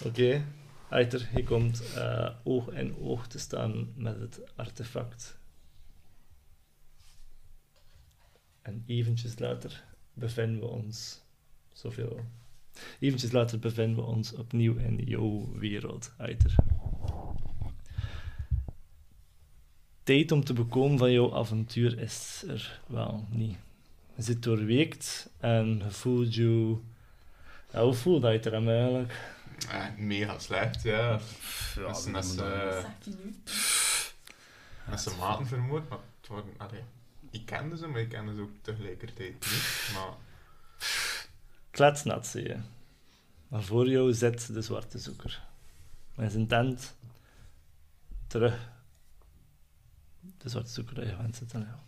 Speaker 3: Oké. Uiter, je komt eh, oog in oog te staan met het artefact. En eventjes later bevinden we ons... Zoveel. Eventjes later bevinden we ons opnieuw in jouw wereld, Uiter. Tijd om te bekomen van jouw avontuur is er wel niet. Je zit doorweekt en je voelt je... Ja, hoe voelt Uiter hem eigenlijk?
Speaker 10: Ah, mega slecht, ja.
Speaker 2: ja,
Speaker 10: Met z'n-
Speaker 2: dat
Speaker 10: met
Speaker 2: moet
Speaker 10: z'n- Met zijn maten vermoord, maar het worden... Allee, ik kende ze, maar ik kende ze ook tegelijkertijd niet. Maar
Speaker 3: Kletsnat zie je. Maar voor jou zit de zwarte zoeker. Met zijn tent. Terug. De zwarte zoeker dat je gewend zit aan jou.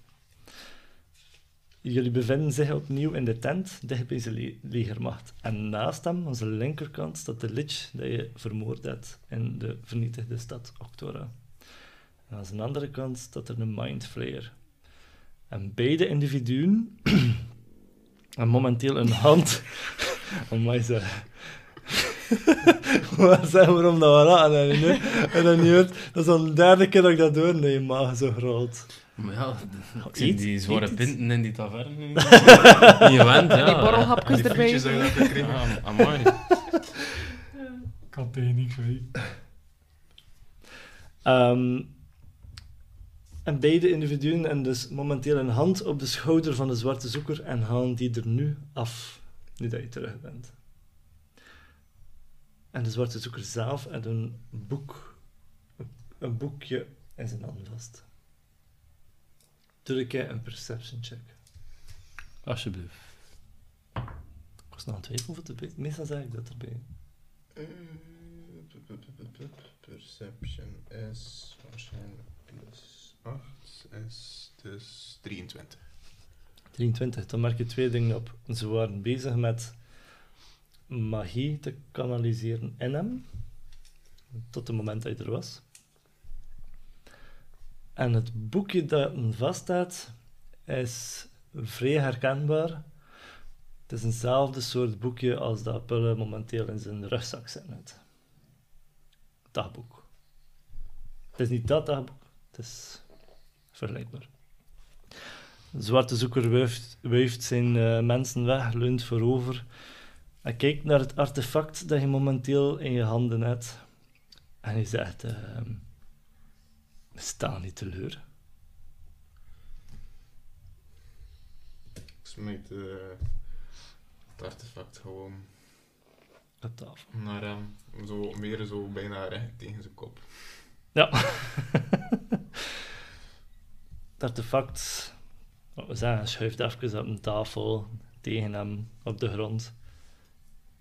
Speaker 3: Jullie bevinden zich opnieuw in de tent, dicht bij zijn le- legermacht. En naast hem, aan zijn linkerkant, staat de lich dat je vermoord hebt in de vernietigde stad Octora. En aan zijn andere kant staat er een Mind Flayer. En beide individuen en momenteel een hand. Amai, zeg. Maar zeg waarom dat we raken en nu. En dan niet hoort. Dat is al de derde keer dat ik dat doe. Nee, maag zo groot.
Speaker 2: Maar ja, ik
Speaker 3: Eet,
Speaker 2: zie die
Speaker 3: eet
Speaker 2: zware
Speaker 3: iets.
Speaker 2: pinten in die taverne. Niet gewend, ja.
Speaker 9: Die borrelhapjes
Speaker 10: die
Speaker 9: erbij.
Speaker 10: frietjes hebben dat gekregen.
Speaker 2: Ah, amai.
Speaker 5: Ik had tegen niks weten.
Speaker 3: Ehm, En beide individuen en dus momenteel een hand op de schouder van de zwarte zoeker en halen die er nu af, nu dat je terug bent. En de zwarte zoeker zelf en een boek, een boekje in zijn hand vast. Doe ik een perception check.
Speaker 2: Alsjeblieft.
Speaker 3: Ik was nog aan het twijfelen of het erbij... Meestal zeg ik dat erbij.
Speaker 10: Eh, p- p- p- p- p- Perception is waarschijnlijk plus 8, is dus 23.
Speaker 3: 23, dan merk je twee dingen op. Ze waren bezig met magie te kanaliseren in hem, tot het moment dat hij er was. En het boekje dat hem vaststaat is vrij herkenbaar. Het is eenzelfde soort boekje als dat Pulle momenteel in zijn rugzak zit. net. Dagboek. Het is niet dat dagboek, het is vergelijkbaar. De zwarte zoeker wuift, wuift zijn eh, mensen weg, leunt voorover. Hij kijkt naar het artefact dat je momenteel in je handen hebt. En hij zegt... ehm sta niet teleur.
Speaker 10: Ik smijt eh, het artefact gewoon
Speaker 3: Op tafel.
Speaker 10: naar hem. Zo, meer zo bijna recht tegen zijn kop.
Speaker 3: Het artefact... Wat we zeggen, schuift even op een tafel tegen hem op de grond.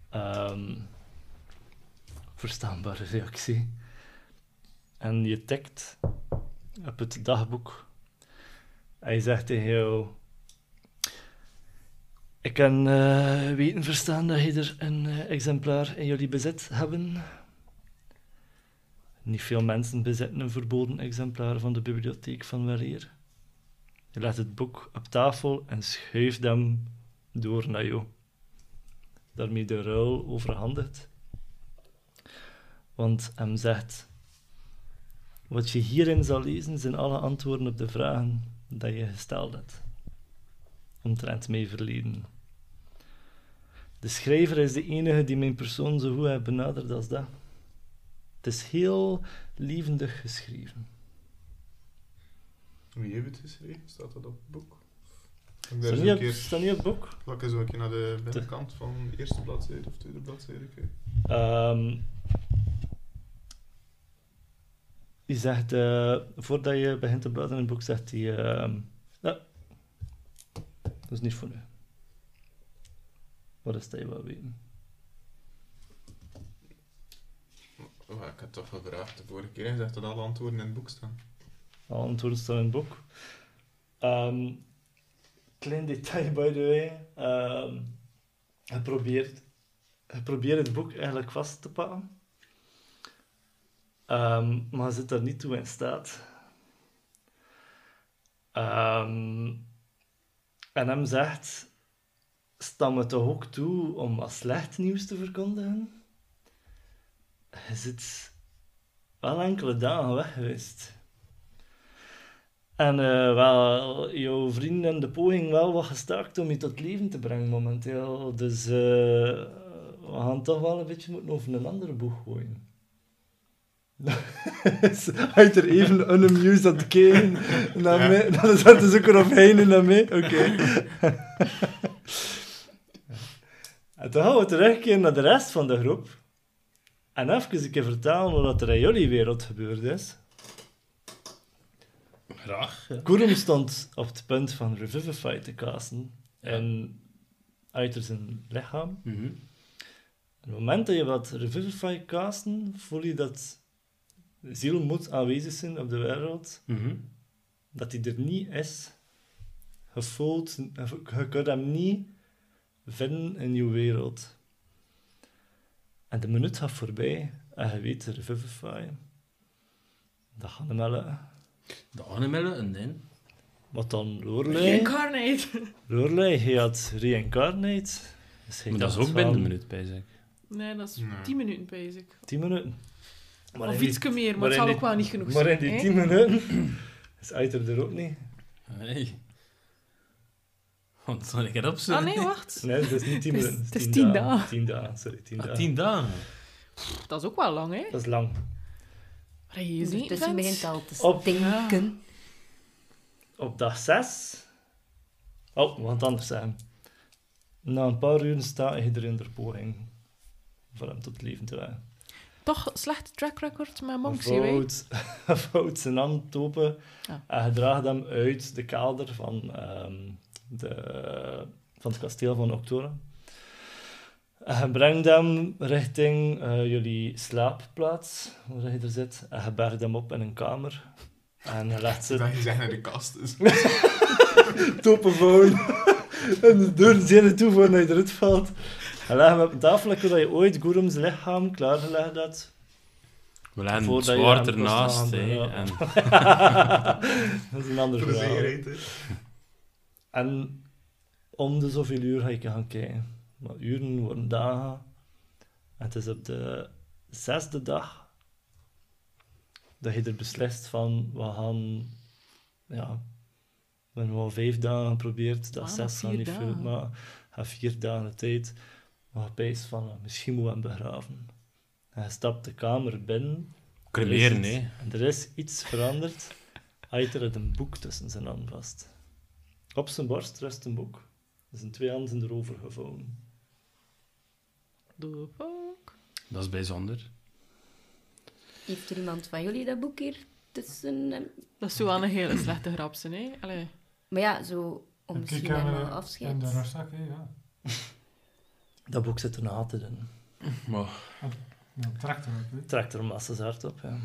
Speaker 3: Ehm, verstaanbare reactie. En je tikt op het dagboek. Hij zegt tegen jou... Ik kan eh, weten verstaan dat je er een eh, exemplaar in jullie bezit hebben. Niet veel mensen bezitten een verboden exemplaar van de bibliotheek van Weleer. Je legt het boek op tafel en schuift hem door naar jou. Daarmee de ruil overhandigt. Want hem zegt... Wat je hierin zal lezen zijn alle antwoorden op de vragen dat je gesteld hebt. Omtrent mijn verleden. De schrijver is de enige die mijn persoon zo goed heeft benaderd als dat. Het is heel levendig geschreven.
Speaker 10: Wie heeft het geschreven? Staat dat op het boek?
Speaker 3: Staat
Speaker 10: Ik daar zo
Speaker 3: niet
Speaker 10: een
Speaker 3: op-
Speaker 10: keer
Speaker 3: staat niet op het boek?
Speaker 10: plakken, zo een keer naar de binnenkant van de eerste bladzijde of tweede bladzijde. kijk.
Speaker 3: Ehm je zegt, eh, voordat je begint te bladeren in het boek, zegt hij... ehm, "Ja, dat is niet voor nu. Wat is dat je wil weten?
Speaker 10: Oh, ik had toch gevraagd de vorige keer. Hij zegt dat alle antwoorden in het boek staan.
Speaker 3: Alle antwoorden staan in het boek. Ehm, klein detail, by the way. Ehm hij, probeert, hij probeert het boek eigenlijk vast te pakken. Ehm, maar hij zit daar niet toe in staat. Ehm, en hem zegt... Stam het toch ook toe om wat slecht nieuws te verkondigen? Hij zit wel enkele dagen weg geweest. En eh, wel, jouw vrienden hebben de poging wel wat gestaakt om je tot leven te brengen momenteel. Dus eh, we gaan toch wel een beetje moeten over een andere boeg gooien. Hij is er even unamused aan het kijken naar
Speaker 10: Ja.
Speaker 3: mij. Dan is dat te zoeken of hij nu naar mij. Oké. en toen gaan we terugkeren naar de rest van de groep. En even een keer vertellen wat er in jullie wereld gebeurd is.
Speaker 2: Graag.
Speaker 3: Kurum stond op het punt van Revivify te casten. En uit zijn lichaam.
Speaker 2: Mhm,
Speaker 3: Op het moment dat je wat Revivify casten, voel je dat de ziel moet aanwezig zijn op de wereld.
Speaker 2: Mhm.
Speaker 3: Dat hij er niet is. Je voelt, je kunt hem niet vinden in je wereld. En de minuut gaat voorbij en je weet Revivify. Dat gaat hem wel lukken.
Speaker 2: De animellen, een ding.
Speaker 3: Wat dan Lorelei?
Speaker 9: Reincarnate.
Speaker 3: Lorelei, hij had Reincarnate. Dus hij
Speaker 2: Maar dat is
Speaker 3: dacht
Speaker 2: ook binnen
Speaker 3: van
Speaker 2: een minuut bij, zeg.
Speaker 9: Nee, dat is
Speaker 10: Nee.
Speaker 9: 10 minuten bezig.
Speaker 3: 10 minuten. Maar in
Speaker 9: of
Speaker 3: die-
Speaker 9: iets meer, maar
Speaker 3: maar in
Speaker 9: het zal
Speaker 3: die-
Speaker 9: ook wel niet genoeg
Speaker 3: Maar in
Speaker 9: zijn.
Speaker 3: die
Speaker 9: hè?
Speaker 3: 10 minuten is Uiter er ook niet.
Speaker 2: Hey. Want zal ik het
Speaker 9: Ah
Speaker 2: opzetten?
Speaker 9: nee, wacht.
Speaker 3: Nee, het is niet 10
Speaker 9: Het is-
Speaker 3: minuten.
Speaker 9: het is
Speaker 3: 10
Speaker 9: 10
Speaker 3: dagen.
Speaker 9: dagen.
Speaker 3: 10 dagen, sorry, 10
Speaker 2: Ah,
Speaker 3: dagen.
Speaker 2: tien dagen.
Speaker 9: Dat is ook wel lang, hè?
Speaker 3: Dat is lang.
Speaker 9: Maar je ziet
Speaker 1: Ondertussen
Speaker 9: vent.
Speaker 1: begint het Dus al te
Speaker 3: Op.
Speaker 1: stinken.
Speaker 3: op dag 6. Oh, we gaan het anders zeggen. Na een paar uur staat iedereen er poging voor hem tot leven te leggen.
Speaker 9: Toch slecht track record met Monksy,
Speaker 3: Hij
Speaker 9: weet
Speaker 3: vouwt- hij vouwt zijn hand open
Speaker 9: Ah.
Speaker 3: en hij draagt hem uit de kelder van, ehm, de, van het kasteel van Octora. En hij brengt hem richting eh, jullie slaapplaats, waar hij er zit. En hij bergt hem op in een kamer. En hij legt ze
Speaker 10: Dat je zegt naar de kast dus- is.
Speaker 3: toppenvouwen. en de deuren zijn er toe voordat hij eruit valt. Hij legt hem op een tafel waar je ooit Gurum's lichaam klaargelegd had
Speaker 2: We leggen het
Speaker 3: Voordat je
Speaker 2: zwaard
Speaker 3: hem
Speaker 2: ernaast.
Speaker 3: kost aan,
Speaker 2: hè,
Speaker 3: ja.
Speaker 2: en
Speaker 3: dat is een ander
Speaker 10: Voor de
Speaker 3: verhaal.
Speaker 10: zekerheid. hè.
Speaker 3: En om de zoveel uur ga ik gaan kijken. Maar uren worden dagen. En het is op de zesde dag dat je er beslist van, we gaan... Ja, we hebben al vijf dagen geprobeerd, dat
Speaker 9: Ah,
Speaker 3: zes
Speaker 9: maar
Speaker 3: gaat
Speaker 9: vier
Speaker 3: niet veel,
Speaker 9: dagen.
Speaker 3: maar ga vier dagen de tijd. Maar je pijst van, ah, misschien moeten we hem begraven. En hij stapt de kamer binnen
Speaker 2: cremeren,
Speaker 3: Er is
Speaker 2: hè.
Speaker 3: iets- Er is iets veranderd. Aiter had een boek tussen zijn handen vast. Op zijn borst rust een boek. Zijn twee handen zijn erover gevouwen.
Speaker 9: Doe ook.
Speaker 2: Dat is bijzonder.
Speaker 1: Heeft er iemand van jullie dat boek hier tussen? eh? hem?
Speaker 9: Dat is zo aan een hele slechte grap, zijn, hè? Allee.
Speaker 1: Maar ja, zo om
Speaker 5: En kijk
Speaker 1: misschien
Speaker 5: hem
Speaker 1: helemaal
Speaker 5: eh, in
Speaker 1: afscheid.
Speaker 5: de rugzak, hè, ja.
Speaker 3: Dat boek zit er een haat in.
Speaker 2: Maar,
Speaker 5: Dan trekt hem ook, hè.
Speaker 3: Trekt er massa's hard op. Ja.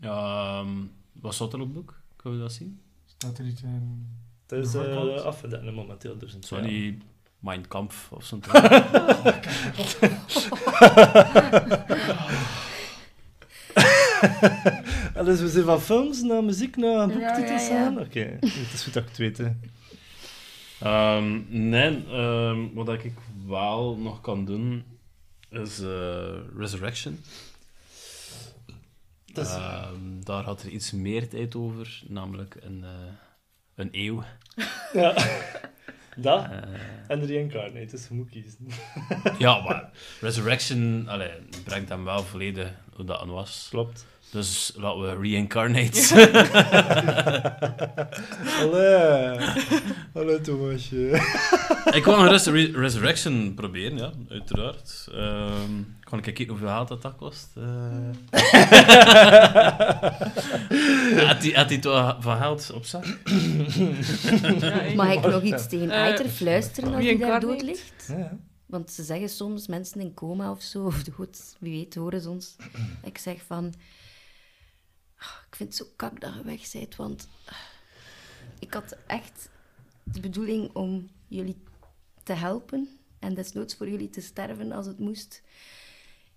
Speaker 2: ja, ehm, wat staat er op het boek? Kunnen we dat zien?
Speaker 5: Staat er iets in...
Speaker 3: Het is
Speaker 5: De
Speaker 3: eh
Speaker 5: voorkant?
Speaker 3: afgedaan momenteel. Dus een
Speaker 2: Zo
Speaker 3: twee
Speaker 2: die Mein Kampf of zo'n trui.
Speaker 3: handen. Ah, dus we zijn van films naar muziek naar boektitels
Speaker 1: ja, ja.
Speaker 3: aan? Oké, het is goed dat ik het weet. hè.
Speaker 2: Ehm, nee, ehm, wat ik wel nog kan doen is eh, Resurrection.
Speaker 3: Dat is-
Speaker 2: Ehm, daar had er iets meer tijd over, namelijk een, eh, een eeuw.
Speaker 3: Ja. Dat
Speaker 2: Eh,
Speaker 3: en Reincarnate, dus je moet kiezen.
Speaker 2: ja, maar Resurrection allee, brengt hem wel volledig hoe dat aan was.
Speaker 3: Klopt.
Speaker 2: Dus laten we reincarnate.
Speaker 3: Allee. Hallo Thomasje.
Speaker 2: ik wil een res- re- Resurrection proberen, ja, uiteraard. Ehm ik ga een keer kijken hoeveel geld dat, dat kost. Eh had hij- had hij het wel van geld op zak?
Speaker 9: Ja, hè.
Speaker 1: Mag ik nog iets tegen
Speaker 9: Eh,
Speaker 1: Aiter fluisteren als
Speaker 9: wie
Speaker 1: hij
Speaker 9: een
Speaker 1: daar
Speaker 9: kar
Speaker 1: dood
Speaker 9: neemt?
Speaker 1: ligt?
Speaker 3: Ja, ja.
Speaker 1: Want ze zeggen soms mensen in coma of zo, of goed, wie weet horen ze ons. Ik zeg van, "Ah, ik vind het zo kak dat je weg bent, want ah, ik had echt de bedoeling om jullie te helpen en desnoods voor jullie te sterven als het moest.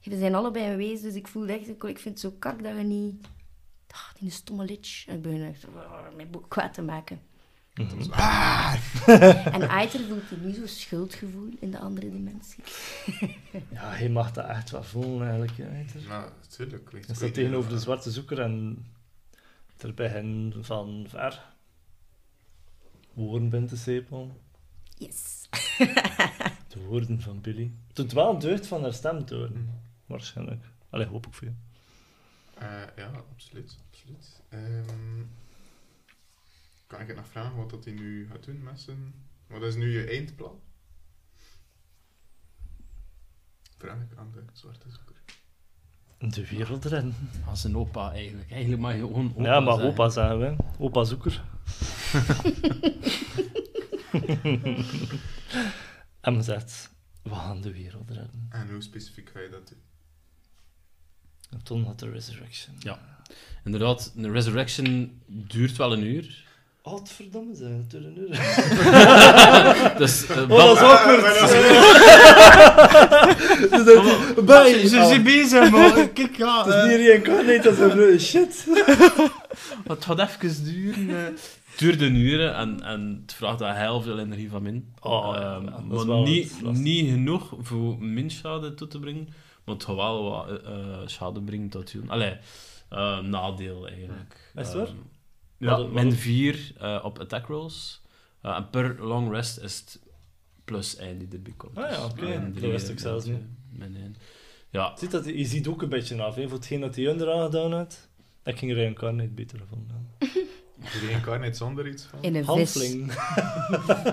Speaker 1: We zijn allebei een wees, dus ik voelde echt, ik vind het zo kak dat je niet... Ah, die stomme lich. En ik ben echt ah, mijn boek kwaad te maken. En Aiter voelt hier nu zo'n schuldgevoel in de andere dimensie.
Speaker 3: Ja, je mag dat echt wel voelen eigenlijk. hè, Aiter.
Speaker 10: Nou, natuurlijk. weet
Speaker 3: Hij
Speaker 10: ik
Speaker 3: staat
Speaker 10: niet,
Speaker 3: tegenover de
Speaker 10: maar-
Speaker 3: zwarte zoeker en ter begin van ver. Woorden bent te sepel.
Speaker 1: Yes.
Speaker 3: De woorden van Billy. Het doet wel deugd van haar stem te horen,
Speaker 10: Mm.
Speaker 3: waarschijnlijk. Allee, hoop ik voor je.
Speaker 10: Eh, ja, absoluut. absoluut. Ehm, kan ik het nog vragen wat dat hij nu gaat doen met zijn... Wat is nu je eindplan? Vraag ik aan de zwarte zoeker.
Speaker 3: De wereld erin.
Speaker 2: Als een opa eigenlijk. Eigenlijk mag je gewoon opa
Speaker 3: ja, maar
Speaker 2: zeggen.
Speaker 3: opa zeggen we. Opa zoeker. en zegt, we gaan de wereld redden.
Speaker 10: En hoe specifiek ga je dat doen?
Speaker 3: En toen had de resurrection.
Speaker 2: Ja. Inderdaad, een resurrection duurt wel een uur.
Speaker 3: Godverdomme, ze natuurlijk nu.
Speaker 2: Dus, eh,
Speaker 3: Oh, dat is
Speaker 2: bel-
Speaker 3: awkward. Bye.
Speaker 11: Ze zijn bezig, maar kijk, ja...
Speaker 3: Het is
Speaker 11: eh,
Speaker 3: niet reïncarnate, dat is een rode shit.
Speaker 2: Het gaat even duren. eh. Het duurde een uur hè, en, en het vraagt daar heel veel energie van min.
Speaker 3: Oh, ja,
Speaker 2: Ehm,
Speaker 3: ja, dat is
Speaker 2: maar
Speaker 3: wel
Speaker 2: niet,
Speaker 3: lastig.
Speaker 2: niet genoeg voor min schade toe te brengen. Maar het gaat wel wat eh, eh, schade brengen tot doen. Allee, eh, nadeel eigenlijk.
Speaker 3: Is het waar?
Speaker 2: Ehm,
Speaker 3: Wat-
Speaker 2: ja,
Speaker 3: wat-
Speaker 2: min 4 op attack rolls. Eh, en per long rest is het plus 1 die erbij komt.
Speaker 3: Ah ja,
Speaker 2: Dus
Speaker 3: oké.
Speaker 2: min
Speaker 3: Dat
Speaker 2: drie,
Speaker 3: wist ik
Speaker 2: min
Speaker 3: zelfs
Speaker 2: twee,
Speaker 3: niet.
Speaker 2: min één. Ja,
Speaker 3: Ziet dat, je ziet ook een beetje af, hè, voor hetgeen dat hij onder aangedaan had. Ik ging reïncarnate beter gevonden hebben.
Speaker 10: Reincarnate zonder iets van?
Speaker 1: In een vis.
Speaker 3: Halfling.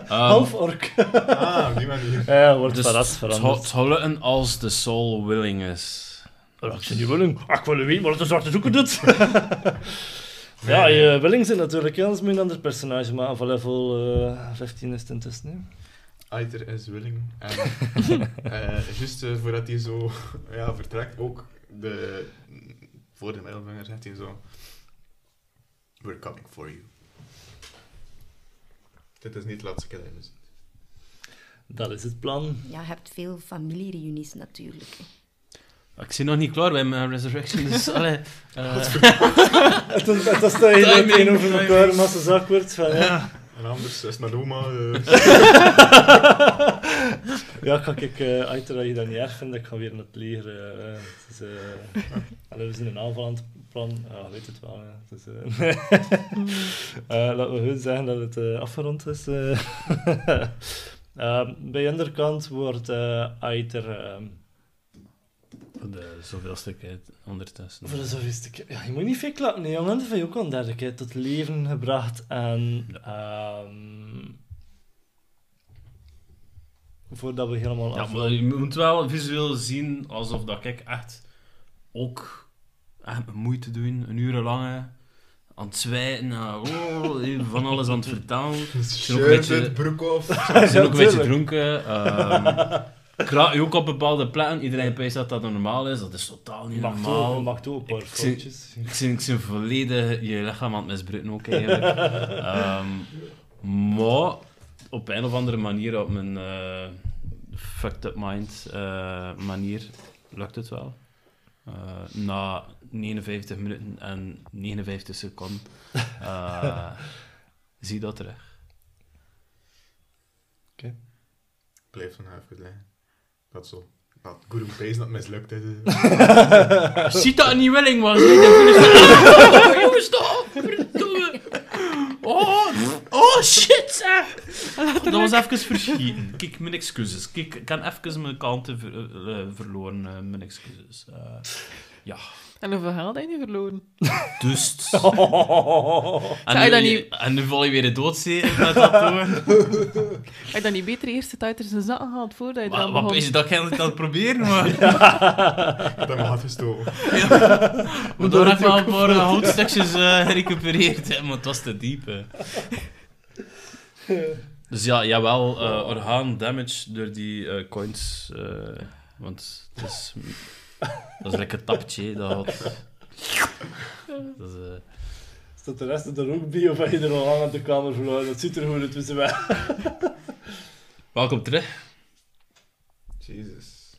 Speaker 3: Half ork.
Speaker 10: Ah, op die manier.
Speaker 3: Ja, wordt
Speaker 2: Dus
Speaker 3: van dat
Speaker 2: het zou- het
Speaker 3: veranderd.
Speaker 2: zou lukken als de soul willing is.
Speaker 3: Oh, ik zou niet willen. Ah, ik wil weten wat de zwarte zoeker doet. ja, je willing zijn natuurlijk heel anders moet je een ander personage maken. Van level eh, 15 is het intussen. hè.
Speaker 10: Aiter Ah, is willing. En eh juist eh, voordat hij zo ja, vertrekt, ook de, voor de middelvinger zegt hij zo... We're coming for you. Dit is niet de laatste keer dat je me ziet.
Speaker 3: Dat is het plan.
Speaker 1: Ja, je hebt veel familiereunies natuurlijk. hè.
Speaker 2: Ik zie nog niet klaar bij mijn Resurrection, dus allee, eh,
Speaker 3: Het is, het is dat je dat een over elkaar massa zak wordt. Van, ja.
Speaker 10: En anders is mijn oma... eh,
Speaker 3: ja, ga ik eh uit dat je dat niet erg vindt, ik ga weer naar het leger. eh, eh, het is, eh, allee, we zijn een aanval aan het plan. Ja, je weet het wel. ja. Het is, eh, eh, laten we goed zeggen dat het eh, afgerond is. eh. Ehm, bij de andere kant wordt eh Aiter... ehm,
Speaker 2: voor de zoveelste keer ondertussen.
Speaker 3: Voor de zoveelste keer. Ja, je moet niet veel klappen, nee, jongen. Dat vind je ook al een derde keer tot leven gebracht. En ehm, voordat we helemaal
Speaker 2: Ja,
Speaker 3: af...
Speaker 2: maar je moet wel visueel zien alsof dat ik echt ook echt mijn moeite doen, een uur lang aan het zwijten, eh, oh, van alles aan het vertalen. ook een
Speaker 10: Shirt,
Speaker 2: beetje-
Speaker 10: het broek af.
Speaker 2: Ze zijn ook een beetje
Speaker 3: tuurlijk.
Speaker 2: dronken. ehm kraak je ook op bepaalde plekken. Iedereen pijst dat dat normaal is. Dat is totaal niet
Speaker 3: Mag
Speaker 2: normaal.
Speaker 3: toe, mag toe, een paar
Speaker 2: Ik zie-
Speaker 3: foutjes.
Speaker 2: Ik zie, ik zie volledig je lichaam aan het misbruiken ook eigenlijk. Ehm, maar op een of andere manier, op mijn eh, fucked up mind eh, manier, lukt het wel. Eh, na 59 minuten en 59 seconden eh, zie dat terug.
Speaker 10: Blijf dan even liggen. Dat zo. Dat Guru Pees dat mislukt is.
Speaker 2: Ziet dat een nieuweling was? Nee, dat vind ik- Jongens, stop! Verdomme! Oh, oh shit! zeg. Dat was even verschieten. Kijk, mijn excuses. Kijk, ik kan even mijn kanten ver- eh, eh, verloren. eh, mijn excuses. Eh,
Speaker 9: En hoeveel geld heb je nu verloren?
Speaker 2: dus.
Speaker 9: Zou je
Speaker 2: nu,
Speaker 9: dat niet-
Speaker 2: en nu val je weer doodzeten met dat doen.
Speaker 9: Had je dan niet beter eerst het uit zijn zakken gehaald voordat je
Speaker 2: Wat,
Speaker 9: dan
Speaker 2: wat is
Speaker 9: begon?
Speaker 2: je dat eigenlijk aan het proberen? Maar,
Speaker 10: dat mijn hart gestoken.
Speaker 2: maar dan heb ik wel een paar eh, houtstukjes eh, gerecupereerd, hè, maar het was te diep. hè. Dus ja, jawel, eh orgaan damage door die eh, coins. eh, want het is, dat is lekker tapje. hè, Dat, had- dat is, eh,
Speaker 3: Staat de rest er ook bij of heb je er al lang aan de kamer verloren? Dat ziet er goed uit tussen wij.
Speaker 2: Welkom terug.
Speaker 10: Jezus.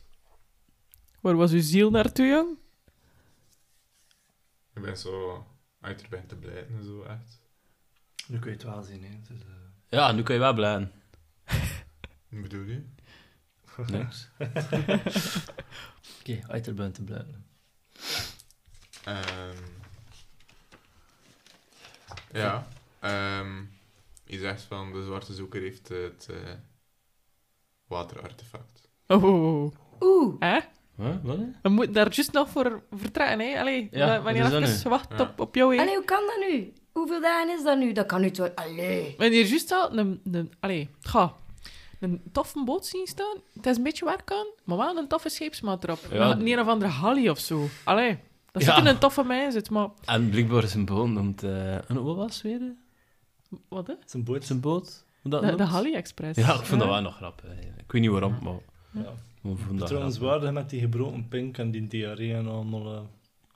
Speaker 9: Waar was uw ziel naartoe, jong?
Speaker 10: Ik ben zo uit erbij te blijven en zo echt.
Speaker 3: Nu kun je het wel zien, hè. Dus,
Speaker 2: Ja, nu kun je wel blijven.
Speaker 10: Wat bedoel je?
Speaker 2: Niks.
Speaker 3: Oké, uit erbij te blijven.
Speaker 10: Ehm ja. ehm je zegt van de zwarte zoeker heeft het eh, waterartefact.
Speaker 9: Oh, oh, oh.
Speaker 1: Oeh,
Speaker 9: Hè?
Speaker 2: Huh? Wat? hè?
Speaker 9: We moeten daar juist nog voor vertrekken, hè? Allee,
Speaker 2: Ja,
Speaker 9: wa- wanneer
Speaker 2: dat is dat
Speaker 9: even wacht
Speaker 10: Ja.
Speaker 9: op, op jou, hè?
Speaker 1: allee, hoe kan dat nu? Hoeveel dagen is dat nu? Dat kan nu toch... Allee.
Speaker 9: Wanneer juist al een, een, allee, ga, een toffe boot zien staan, het is een beetje werk aan, maar wel een toffe scheepsmaat erop.
Speaker 2: Ja.
Speaker 9: Een een of andere hallie of zo. Allee, dat
Speaker 2: Ja.
Speaker 9: zit in een toffe mijn zit, maar...
Speaker 2: En blijkbaar is een boot noemt. eh, en wat was het weer? hè?
Speaker 9: Wat, hè?
Speaker 3: Zijn boot.
Speaker 2: Zijn boot? Hoe dat
Speaker 9: De, de
Speaker 2: noemt?
Speaker 9: Hallie Express.
Speaker 2: Ja, ik vond dat wel nog grappig. hè. Ik weet niet waarom, maar.
Speaker 3: Ja.
Speaker 2: Ik vond dat
Speaker 3: Trouwens,
Speaker 2: grappig.
Speaker 3: waardig met die gebroken pink en die diarree en allemaal... eh,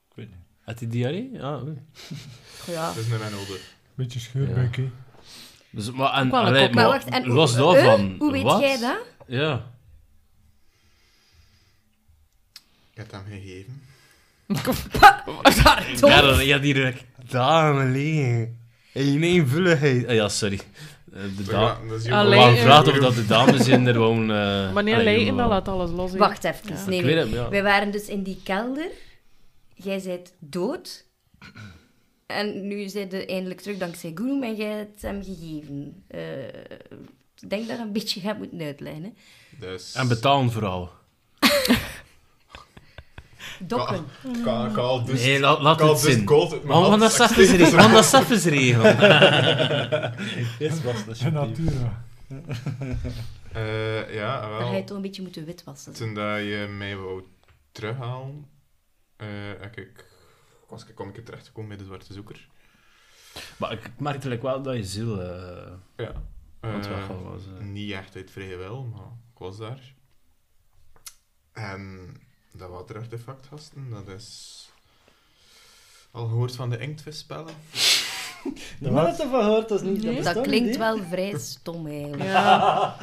Speaker 3: ik weet niet.
Speaker 2: Had hij diarree? Ja, oei.
Speaker 1: Ja.
Speaker 10: Dat is naar mijn ouder.
Speaker 5: Beetje scheurbuik, hè.
Speaker 2: Dus, maar, en,
Speaker 9: wel een
Speaker 2: allee,
Speaker 9: kop.
Speaker 1: Maar
Speaker 2: maar
Speaker 1: wacht, en hoe-
Speaker 2: los
Speaker 1: eh,
Speaker 2: daarvan.
Speaker 1: Hoe weet
Speaker 2: wat?
Speaker 1: jij dat?
Speaker 2: Ja.
Speaker 10: Ik heb hem gegeven.
Speaker 2: Ja, dat, ja, die direct. Dame Lee. In eenvulligheid. Ah, ja, sorry. Eh, De
Speaker 10: Ja,
Speaker 2: dame.
Speaker 10: dat is
Speaker 9: Allee,
Speaker 2: Waarom
Speaker 9: eh,
Speaker 2: vraagt of dat de dames in er gewoon. eh,
Speaker 9: Wanneer Leijen dat laat alles los, hè?
Speaker 1: Wacht even.
Speaker 9: Ja.
Speaker 1: Nee,
Speaker 2: Ik
Speaker 1: nee.
Speaker 2: weet het, ja.
Speaker 1: Wij waren dus in die kelder. Jij zijt dood. En nu zijt je eindelijk terug dankzij Guru en jij hebt hem gegeven. Eh, ik denk dat je een beetje gaat moeten uitlijnen.
Speaker 10: Dus...
Speaker 2: En betalen vooral.
Speaker 1: Dokken.
Speaker 10: Ka- Kaal dus.
Speaker 11: Nee, laat, laat
Speaker 10: kaal
Speaker 11: het
Speaker 10: dus
Speaker 11: zin.
Speaker 10: gold uit mijn
Speaker 11: Want want dat
Speaker 10: hand.
Speaker 11: is even regelen. Want dat is even regelen.
Speaker 3: Yes, was dat
Speaker 5: De natura.
Speaker 10: Eh, ja,
Speaker 1: Dan ga je
Speaker 10: wel.
Speaker 1: toch een beetje moeten witwassen.
Speaker 10: Toen dat je mij wou terughalen, eh, heb ik, was ik, kwam ik terechtgekomen bij de Zwarte Zoeker.
Speaker 2: Maar ik ik merkte like wel dat je ziel... eh
Speaker 10: Ja.
Speaker 2: want wel
Speaker 10: Eh,
Speaker 2: gewoon was, eh.
Speaker 10: Niet echt uit vrije wil, maar ik was daar. En dat waterartefact, gasten, dat is... Al gehoord van de inktvisspellen?
Speaker 3: De man heeft ervan gehoord, dat is niet...
Speaker 9: Nee.
Speaker 1: Dat klinkt wel vrij stom eigenlijk.
Speaker 9: Ja.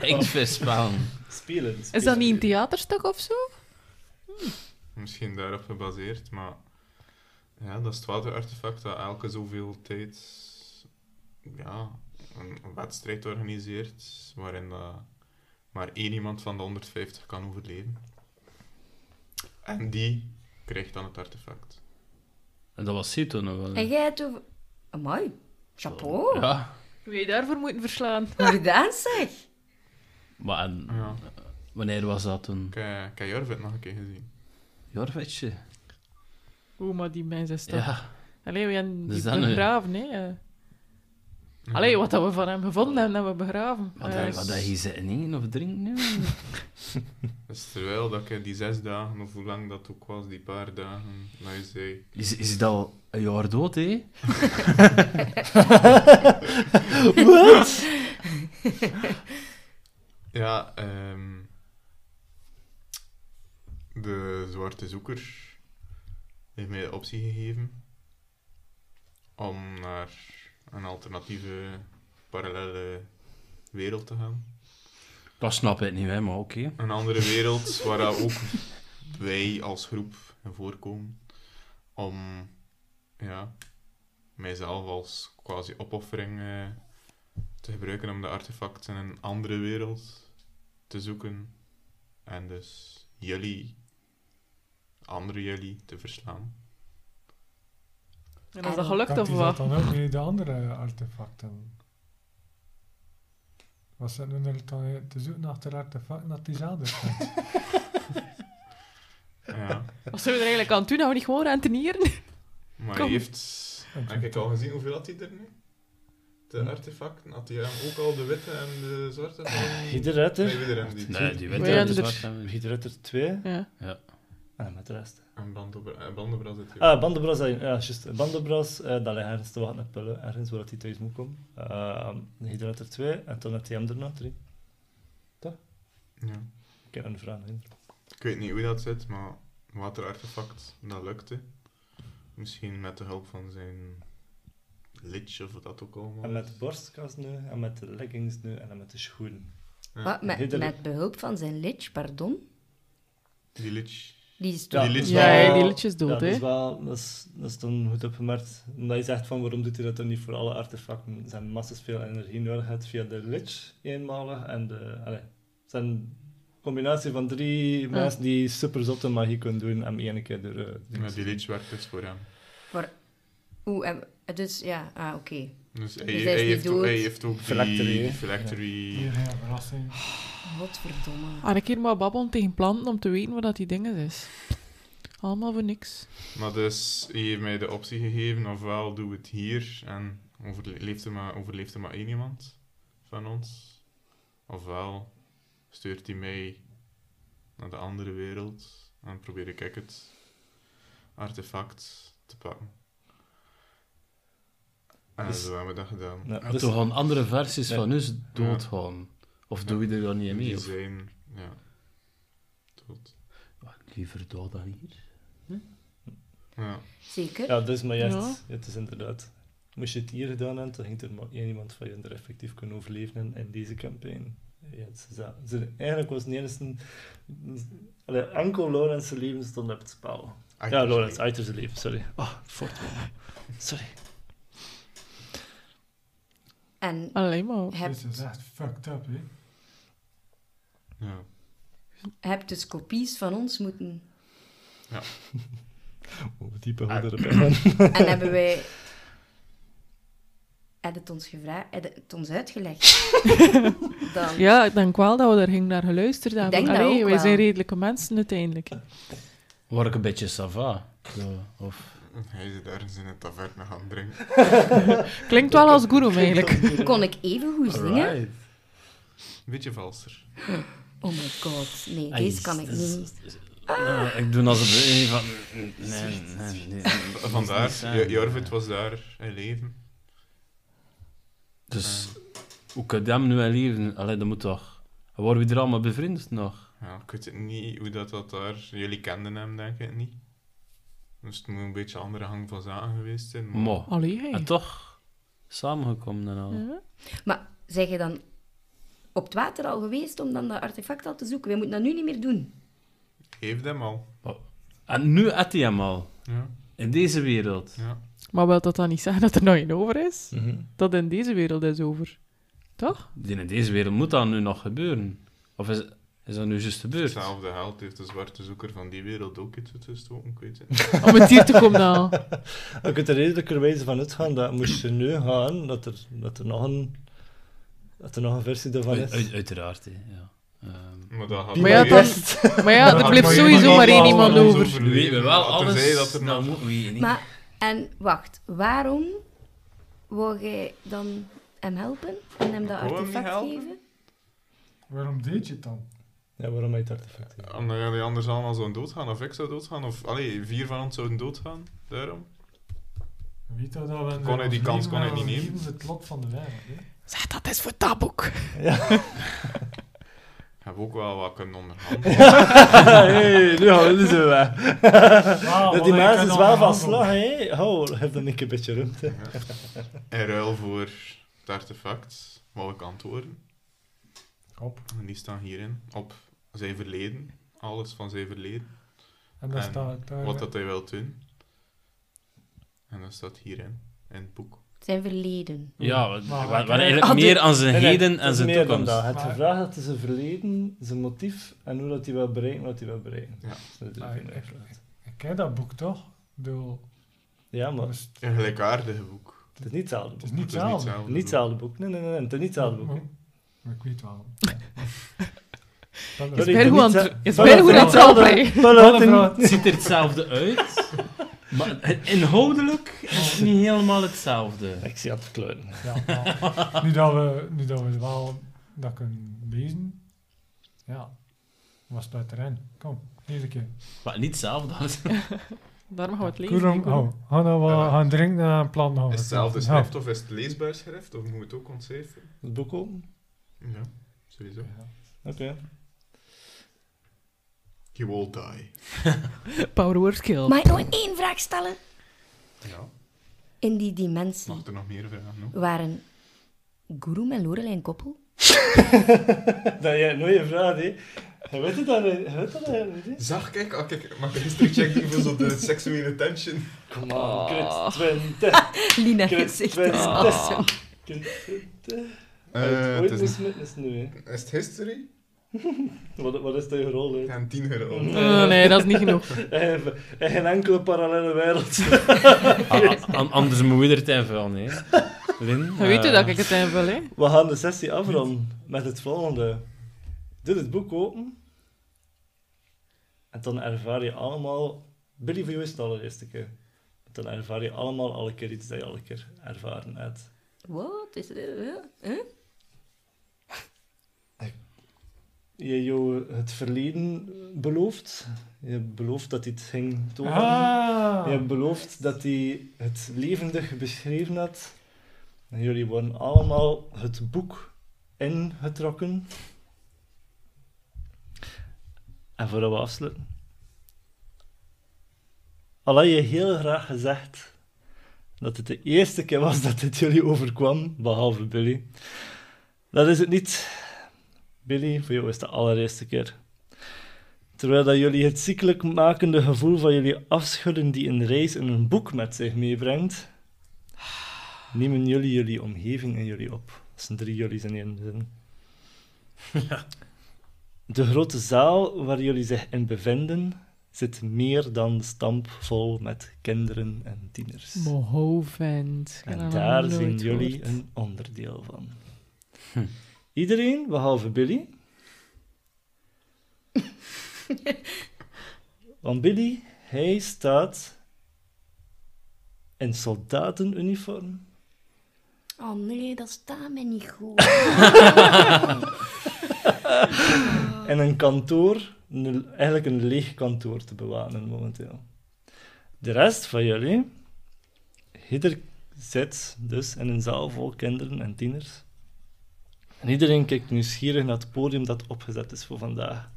Speaker 11: Inktvispaal.
Speaker 3: Spelen.
Speaker 9: Is dat niet een theaterstuk of zo?
Speaker 10: Misschien daarop gebaseerd, maar... Ja, dat is het waterartefact dat elke zoveel tijd... Ja, een, een wedstrijd organiseert, waarin eh, maar één iemand van de 150 kan overleven. En die krijgt dan het artefact.
Speaker 2: En dat was Sito nog wel.
Speaker 1: En
Speaker 2: hè?
Speaker 1: jij hebt over... Amai, chapeau.
Speaker 2: Ja.
Speaker 9: Wie je daarvoor moeten verslaan?
Speaker 1: Hoe gedaan zeg.
Speaker 2: Maar en,
Speaker 10: Ja.
Speaker 2: wanneer was dat toen?
Speaker 10: Ik, eh, ik heb Jorvit nog een keer gezien.
Speaker 2: Jorvetje.
Speaker 9: Oeh, maar die mensen is toch...
Speaker 2: Ja.
Speaker 9: Allee, we hebben
Speaker 2: Dus
Speaker 9: die
Speaker 2: dan, eh,
Speaker 9: begraven, hè. eh. Allee, wat dat we van hem gevonden hebben, hebben we begraven.
Speaker 2: Wat
Speaker 9: Eh,
Speaker 2: dat- wat dat je zitten in of drinken nu?
Speaker 10: Dus terwijl dat ik die zes dagen, of hoe lang dat ook was, die paar dagen, nou je zei...
Speaker 2: Is, is dat al een jaar dood, hè?
Speaker 10: Ja, ehm, de zwarte zoeker heeft mij de optie gegeven om naar een alternatieve, parallele wereld te gaan.
Speaker 2: Dat snap ik niet, hè, maar oké.
Speaker 10: Een andere wereld waar dat ook wij als groep in voorkomen. Om ja, mijzelf als quasi opoffering eh, te gebruiken om de artefacten in een andere wereld te zoeken. En dus jullie, andere jullie, te verslaan.
Speaker 9: En is dat gelukt of
Speaker 5: Kapte zat
Speaker 9: wat?
Speaker 5: dan ook mee de andere artefacten. Was het nu er dan te zoeken achter artefacten dat dus. die zelden zijn?
Speaker 10: Ja.
Speaker 9: Wat zijn we er eigenlijk aan toe? Nou, we niet gewoon rentenieren?
Speaker 10: Maar
Speaker 9: Kom.
Speaker 10: hij heeft... Heb ik al gezien hoeveel had hij er nu? De artefacten? Had hij hem ook al de witte en de zwarte?
Speaker 3: Guy de
Speaker 10: Nee,
Speaker 3: Ruiter.
Speaker 10: we er hem niet.
Speaker 2: Nee, die dus
Speaker 9: Wij
Speaker 2: witte is
Speaker 9: hebben er-
Speaker 2: zwart. hè.
Speaker 3: Guy de Ruiter 2.
Speaker 9: Ja.
Speaker 3: En met de rest.
Speaker 10: En Brando- eh, Brandenbras zit hier.
Speaker 3: Ah, Bandenbras, dat- ja, juist. Bandenbras, eh, dat ligt ergens te wachten op Pullen, ergens waar dat hij thuis moet komen. Uh, Hydrator 2, en toen had hij hem er nog drie.
Speaker 10: Ja.
Speaker 3: Ik heb een vraag. hè.
Speaker 10: Ik weet niet hoe dat zit, maar waterartefact, dat lukte. Misschien met de hulp van zijn lich of wat dat ook allemaal.
Speaker 3: En
Speaker 10: is.
Speaker 3: met de borstkast nu, en met de leggings nu, en dan met de schoenen.
Speaker 1: Wat, met,
Speaker 3: Hitler.
Speaker 1: met behulp van zijn lich, pardon.
Speaker 10: Die lich.
Speaker 1: Die is
Speaker 10: Ja.
Speaker 1: toch...
Speaker 10: Die lich
Speaker 9: Ja,
Speaker 10: wel-
Speaker 9: ja, die liedjes
Speaker 3: Ja,
Speaker 9: dood,
Speaker 3: dat
Speaker 9: hè.
Speaker 3: is wel, dat is, dat is dan goed opgemerkt. Omdat je zegt van waarom doet hij dat dan niet voor alle artefacten? Er zijn massas veel energie nodig het via de Lich eenmalig en de. Allee, het zijn een combinatie van drie mensen die super zotte magie kunnen doen en één keer door. eh,
Speaker 10: Maar die lich werkt dus voor hem.
Speaker 1: Oeh, en- dus ja, ah, oké.
Speaker 10: Dus
Speaker 1: Dus
Speaker 10: hij,
Speaker 1: hij is
Speaker 10: hij
Speaker 1: niet
Speaker 10: heeft, ook,
Speaker 1: dood.
Speaker 10: hij heeft ook
Speaker 3: Phylactery,
Speaker 10: die
Speaker 3: hè?
Speaker 10: die phylactery.
Speaker 5: Hier, ja, verrassing.
Speaker 1: Godverdomme.
Speaker 9: En een keer maar babbelen tegen planten om te weten wat dat die dingen is. Allemaal voor niks.
Speaker 10: Maar dus, hij heeft mij de optie gegeven, ofwel doe het hier en overleeft er maar, overleeft er maar één iemand van ons. Ofwel stuurt hij mij naar de andere wereld en probeer ik ook het artefact te pakken. En
Speaker 3: Dus-
Speaker 10: zo hebben we dat gedaan.
Speaker 3: Ja,
Speaker 2: En
Speaker 3: dus-
Speaker 2: Toen gaan andere versies
Speaker 3: Nee.
Speaker 2: van ons doodgaan. Of doe je er dan niet mee?
Speaker 10: Die
Speaker 2: Of...
Speaker 10: zijn, ja, dood.
Speaker 2: Liever dood dan hier.
Speaker 10: Ja.
Speaker 1: Zeker?
Speaker 3: Ja, dus maar juist,
Speaker 9: Ja.
Speaker 3: het is inderdaad. Moest je het hier gedaan hebben, dan ging er maar één iemand van je er effectief kunnen overleven in, in deze campagne. Ja, het is dat. Ze- eigenlijk was het niet eens een... Allee, enkel Lawrence zijn leven stond op het spel. Ja, Lawrence, uit zijn leven, sorry. Oh, Fortman. Sorry.
Speaker 1: En
Speaker 9: Alleen maar.
Speaker 1: heb,
Speaker 5: Dit is echt fucked up, hè?
Speaker 10: Ja.
Speaker 1: heb dus kopies van ons moeten...
Speaker 3: Oh, diepe handen erbij.
Speaker 1: En hebben wij... Heb het ons gevraagd... Heb het ons uitgelegd? Dan...
Speaker 9: Ja, ik denk wel dat we daar gingen naar geluisterd hebben.
Speaker 1: denk dat
Speaker 9: Allee,
Speaker 1: ook
Speaker 9: wij
Speaker 1: wel.
Speaker 9: zijn redelijke mensen uiteindelijk.
Speaker 2: Word ik een beetje sava? Zo, of...
Speaker 10: Hij zit ergens in een taverne gaan drinken.
Speaker 9: Klinkt wel als guru eigenlijk.
Speaker 1: Kon ik even goed zingen?
Speaker 2: Alright.
Speaker 10: Een beetje valser.
Speaker 1: Oh my god, nee,
Speaker 2: Ai, dus-
Speaker 1: deze kan ik
Speaker 2: dat is-
Speaker 1: niet.
Speaker 2: is- eh, ik doe als een een van... Nee, nee, nee.
Speaker 10: V-
Speaker 2: dat is niet
Speaker 10: Vandaar,
Speaker 2: saai.
Speaker 10: J- Jorvit was daar in leven.
Speaker 2: Dus hoe kan dat nu wel leven? Allee, dat moet toch... Worden we er allemaal bevriend nog?
Speaker 10: Ja, ik weet het niet hoe dat, dat daar... Jullie kenden hem, denk ik niet. Dus het moet een beetje een andere hang van zaken geweest zijn. maar-
Speaker 3: Oh,
Speaker 2: Mo.
Speaker 9: Allee. hey.
Speaker 2: En toch samengekomen en al.
Speaker 1: Maar zeg je dan op het water al geweest om dan dat artefact al te zoeken? We moeten dat nu niet meer doen.
Speaker 10: Heeft hem al.
Speaker 2: En nu at hij hem al.
Speaker 10: Ja,
Speaker 2: In deze wereld.
Speaker 10: ja.
Speaker 9: Maar wil dat dan niet zeggen dat er nog een over is? Dat in deze wereld is over. Toch?
Speaker 2: Die In deze wereld moet dat nu nog gebeuren. Of is, is dat nu juist gebeurd?
Speaker 10: Hetzelfde held heeft de zwarte zoeker van die wereld ook iets gestoken, ik weet het niet.
Speaker 9: Om het hier te komen dan.
Speaker 3: Je kunt er redelijkerwijze van uitgaan dat moest je nu gaan, dat er, dat er, nog, een, dat er nog een versie daarvan
Speaker 2: Uit- uit-
Speaker 3: is.
Speaker 2: uiteraard, hè, ja. Ehm,
Speaker 10: Maar dat had
Speaker 3: Die
Speaker 9: Maar ja, dan-
Speaker 3: best.
Speaker 9: Maar ja, er
Speaker 10: had
Speaker 9: bleef
Speaker 10: maar
Speaker 9: sowieso
Speaker 10: iemand
Speaker 9: maar één
Speaker 10: anders
Speaker 9: iemand
Speaker 10: ons
Speaker 2: nu
Speaker 9: over.
Speaker 10: overleefd.
Speaker 2: weten we wel
Speaker 10: Had er
Speaker 2: alles.
Speaker 10: zei Dat er
Speaker 2: nou,
Speaker 10: nog...
Speaker 2: moeten we hier niet.
Speaker 1: Maar, en wacht, waarom wou jij dan hem helpen en hem dat
Speaker 10: Ik wou hem niet
Speaker 1: artefact
Speaker 10: helpen.
Speaker 1: geven?
Speaker 5: Waarom deed je het dan?
Speaker 3: Ja, waarom heb je het artefact?
Speaker 10: Omdat jullie anders allemaal zouden doodgaan, of ik zou doodgaan, of... Allee, vier van ons zouden doodgaan, daarom.
Speaker 5: Weet dat al? we-
Speaker 10: Kon hij die
Speaker 5: we
Speaker 10: kans,
Speaker 5: leven
Speaker 10: kon hij
Speaker 5: en we
Speaker 10: die
Speaker 5: leven
Speaker 10: nemen?
Speaker 5: Het lot van de wereld. hè.
Speaker 9: Zeg, dat is voor dat boek.
Speaker 10: Ik heb ook wel wat kunnen onderhandelen.
Speaker 3: hey, nu gaan we ze weg.
Speaker 5: Ah,
Speaker 3: Dat
Speaker 5: wat
Speaker 3: die
Speaker 5: heb
Speaker 3: maas
Speaker 5: ik
Speaker 3: is
Speaker 5: dan
Speaker 3: wel van
Speaker 5: gehandeld?
Speaker 3: slag, hé. Oh, heb dan een keer een beetje ruimte.
Speaker 10: In ruil voor het artefact, wou ik antwoorden.
Speaker 5: Op.
Speaker 10: En die staan hierin, op zijn verleden. Alles van zijn verleden.
Speaker 5: En daar
Speaker 10: En
Speaker 5: staat daar.
Speaker 10: Wat dat hij wil doen. En dat staat hierin, in het boek.
Speaker 1: Zijn verleden.
Speaker 2: Ja, we, we,
Speaker 5: Maar-
Speaker 2: we- we- eigenlijk meer aan zijn
Speaker 3: Ah, Nee, nee,
Speaker 2: heden
Speaker 3: het
Speaker 2: en
Speaker 3: is
Speaker 2: zijn
Speaker 3: meer
Speaker 2: toekomst.
Speaker 3: Dan dat. Het
Speaker 5: Maar-
Speaker 3: gevraagd dat is zijn verleden, zijn motief en hoe dat hij wil bereiken wat hij wil bereiken. Dus
Speaker 10: Ja.
Speaker 3: Dat is
Speaker 5: Ah,
Speaker 3: natuurlijk een
Speaker 5: ik-
Speaker 3: vraag.
Speaker 5: Ik ken dat boek toch? Door...
Speaker 3: Ja, maar het
Speaker 5: Het
Speaker 10: Een gelijkaardige boek.
Speaker 3: is niet hetzelfde
Speaker 5: is
Speaker 3: boek.
Speaker 5: niet hetzelfde.
Speaker 3: Niet hetzelfde boek. Nee, nee, nee, nee, het is niet hetzelfde boek.
Speaker 5: Maar,
Speaker 10: Mhm.
Speaker 5: maar ik weet wel.
Speaker 3: Sorry,
Speaker 9: Berg
Speaker 3: ik
Speaker 9: hoe
Speaker 3: ben
Speaker 9: aan
Speaker 3: niet
Speaker 9: het-
Speaker 3: zo-
Speaker 9: is
Speaker 3: Voilà,
Speaker 9: Berg hoe
Speaker 3: voilà,
Speaker 9: aan het rapen,
Speaker 3: voilà,
Speaker 9: hè?
Speaker 3: voilà,
Speaker 2: Het
Speaker 3: voilà.
Speaker 2: ziet er hetzelfde uit, maar inhoudelijk is het niet helemaal hetzelfde.
Speaker 3: Ik zie aan het kleuren.
Speaker 5: Ja, maar nu, dat we, nu dat we het wel dat kunnen lezen, ja, was het erin. Kom, eerste keer.
Speaker 2: Maar niet hetzelfde.
Speaker 9: Daarom gaan we het lezen. hè,
Speaker 5: Kurum,
Speaker 9: Guru.
Speaker 5: oh, gaan we
Speaker 10: Ja.
Speaker 5: gaan drinken en plan houden.
Speaker 10: Is het hetzelfde schrift of is het leesbaar schrift? Of moet het ook ontcijferen?
Speaker 3: Het boek open?
Speaker 10: Ja, sowieso.
Speaker 3: Oké.
Speaker 10: You will die.
Speaker 9: Power word kill.
Speaker 1: Mag ik nog één vraag stellen?
Speaker 10: Ja.
Speaker 1: In die dimensie
Speaker 10: Mag er nog meer vragen? No?
Speaker 1: waren Guru en Lorelei een koppel?
Speaker 3: Dat jij nooit je vraag, hè. Je weet het dan, je weet dat eigenlijk niet, hè.
Speaker 10: Zag, kijk, oh, kijk, mag ik history check doen voor zo de seksuele tension?
Speaker 3: Kom aan,
Speaker 9: Ah.
Speaker 3: kut, twintig.
Speaker 1: Lina
Speaker 3: Kut,
Speaker 1: gezicht is
Speaker 3: twintig.
Speaker 1: awesome.
Speaker 3: Kut, twintig.
Speaker 10: Eh,
Speaker 3: Ooit
Speaker 10: het is,
Speaker 3: mismetnis nu, hè.
Speaker 10: is het history?
Speaker 3: Wat, wat is dat je rol, hè?
Speaker 10: En 10 euro.
Speaker 9: Nee, nee, Oh, nee, dat is niet genoeg.
Speaker 3: En geen- en geen enkele parallele wereld.
Speaker 2: Ah, anders moet je er tijd van, hè? Lin,
Speaker 9: Je weet u
Speaker 2: eh,
Speaker 9: dat ik het invul, hè?
Speaker 3: We gaan de sessie afronden met het volgende. Doe het boek open. En dan ervaar je allemaal... Billy, voor jou is het de allereerste keer. Dan ervaar je allemaal alle keer iets dat je alle keer ervaren hebt.
Speaker 1: Wat is dit? Huh?
Speaker 3: Je jou het verleden belooft. Je belooft dat dit ging tonen.
Speaker 5: Ah,
Speaker 3: Je hebt beloofd dat hij het levendig beschreven had. En jullie worden allemaal het boek ingetrokken. En voordat we afsluiten. Al had je heel graag gezegd dat het de eerste keer was dat dit jullie overkwam, behalve Billy. Dat is het niet. Billy, voor jou is het de allereerste keer. Terwijl dat jullie het ziekelijk makende gevoel van jullie afschudden die een reis in een boek met zich meebrengt, nemen jullie jullie omgeving in jullie op. Dat zijn drie jullie in één zin. De grote zaal waar jullie zich in bevinden, zit meer dan stampvol met kinderen en tieners.
Speaker 9: Mohovend. Ik heb
Speaker 3: En
Speaker 9: dat
Speaker 3: daar
Speaker 9: nog
Speaker 3: zijn
Speaker 9: nooit
Speaker 3: jullie
Speaker 9: gehoord.
Speaker 3: een onderdeel van. Iedereen, behalve Billy. Want Billy Hij staat in soldatenuniform.
Speaker 1: Oh nee, dat staat mij niet goed.
Speaker 3: in Oh. een kantoor, een- eigenlijk een leeg kantoor te bewaken momenteel. De rest van jullie, ieder zit dus in een zaal vol kinderen en tieners. En iedereen kijkt nieuwsgierig naar het podium dat opgezet is voor vandaag.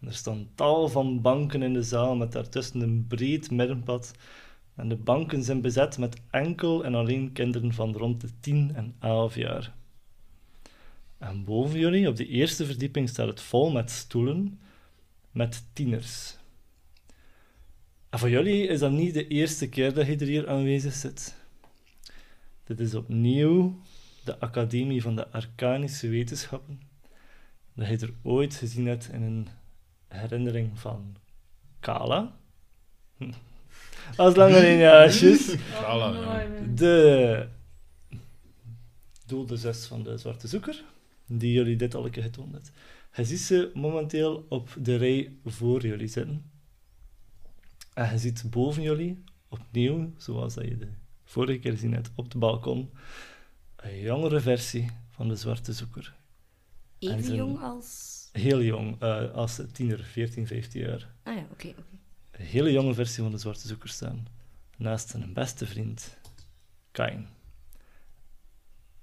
Speaker 3: En er staan tal van banken in de zaal met daartussen een breed middenpad. En de banken zijn bezet met enkel en alleen kinderen van rond de 10 en 11 jaar. En boven jullie, op de eerste verdieping, staat het vol met stoelen met tieners. En voor jullie is dat niet de eerste keer dat je er hier aanwezig zit. Dit is opnieuw de Academie van de Arcanische Wetenschappen. Dat je er ooit gezien hebt in een herinnering van Kala. Hm. Dat is lang geleden, ja, juist.
Speaker 2: Voilà, ja.
Speaker 3: De doelde zes van de Zwarte Zoeker, die jullie dit al een keer getoond hebben. Je ziet ze momenteel op de rij voor jullie zitten. En je ziet boven jullie, opnieuw, zoals dat je de vorige keer gezien hebt op de balkon, een jongere versie van de Zwarte Zoeker. En
Speaker 1: Even
Speaker 3: zijn-
Speaker 1: jong als...
Speaker 3: Heel jong, eh, als tiener, 14, 15 jaar.
Speaker 1: Ah ja, oké. oké.
Speaker 3: een hele jonge versie van de Zwarte Zoeker staan. Naast zijn beste vriend, Kain.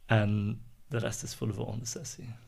Speaker 3: En de rest is voor de volgende sessie.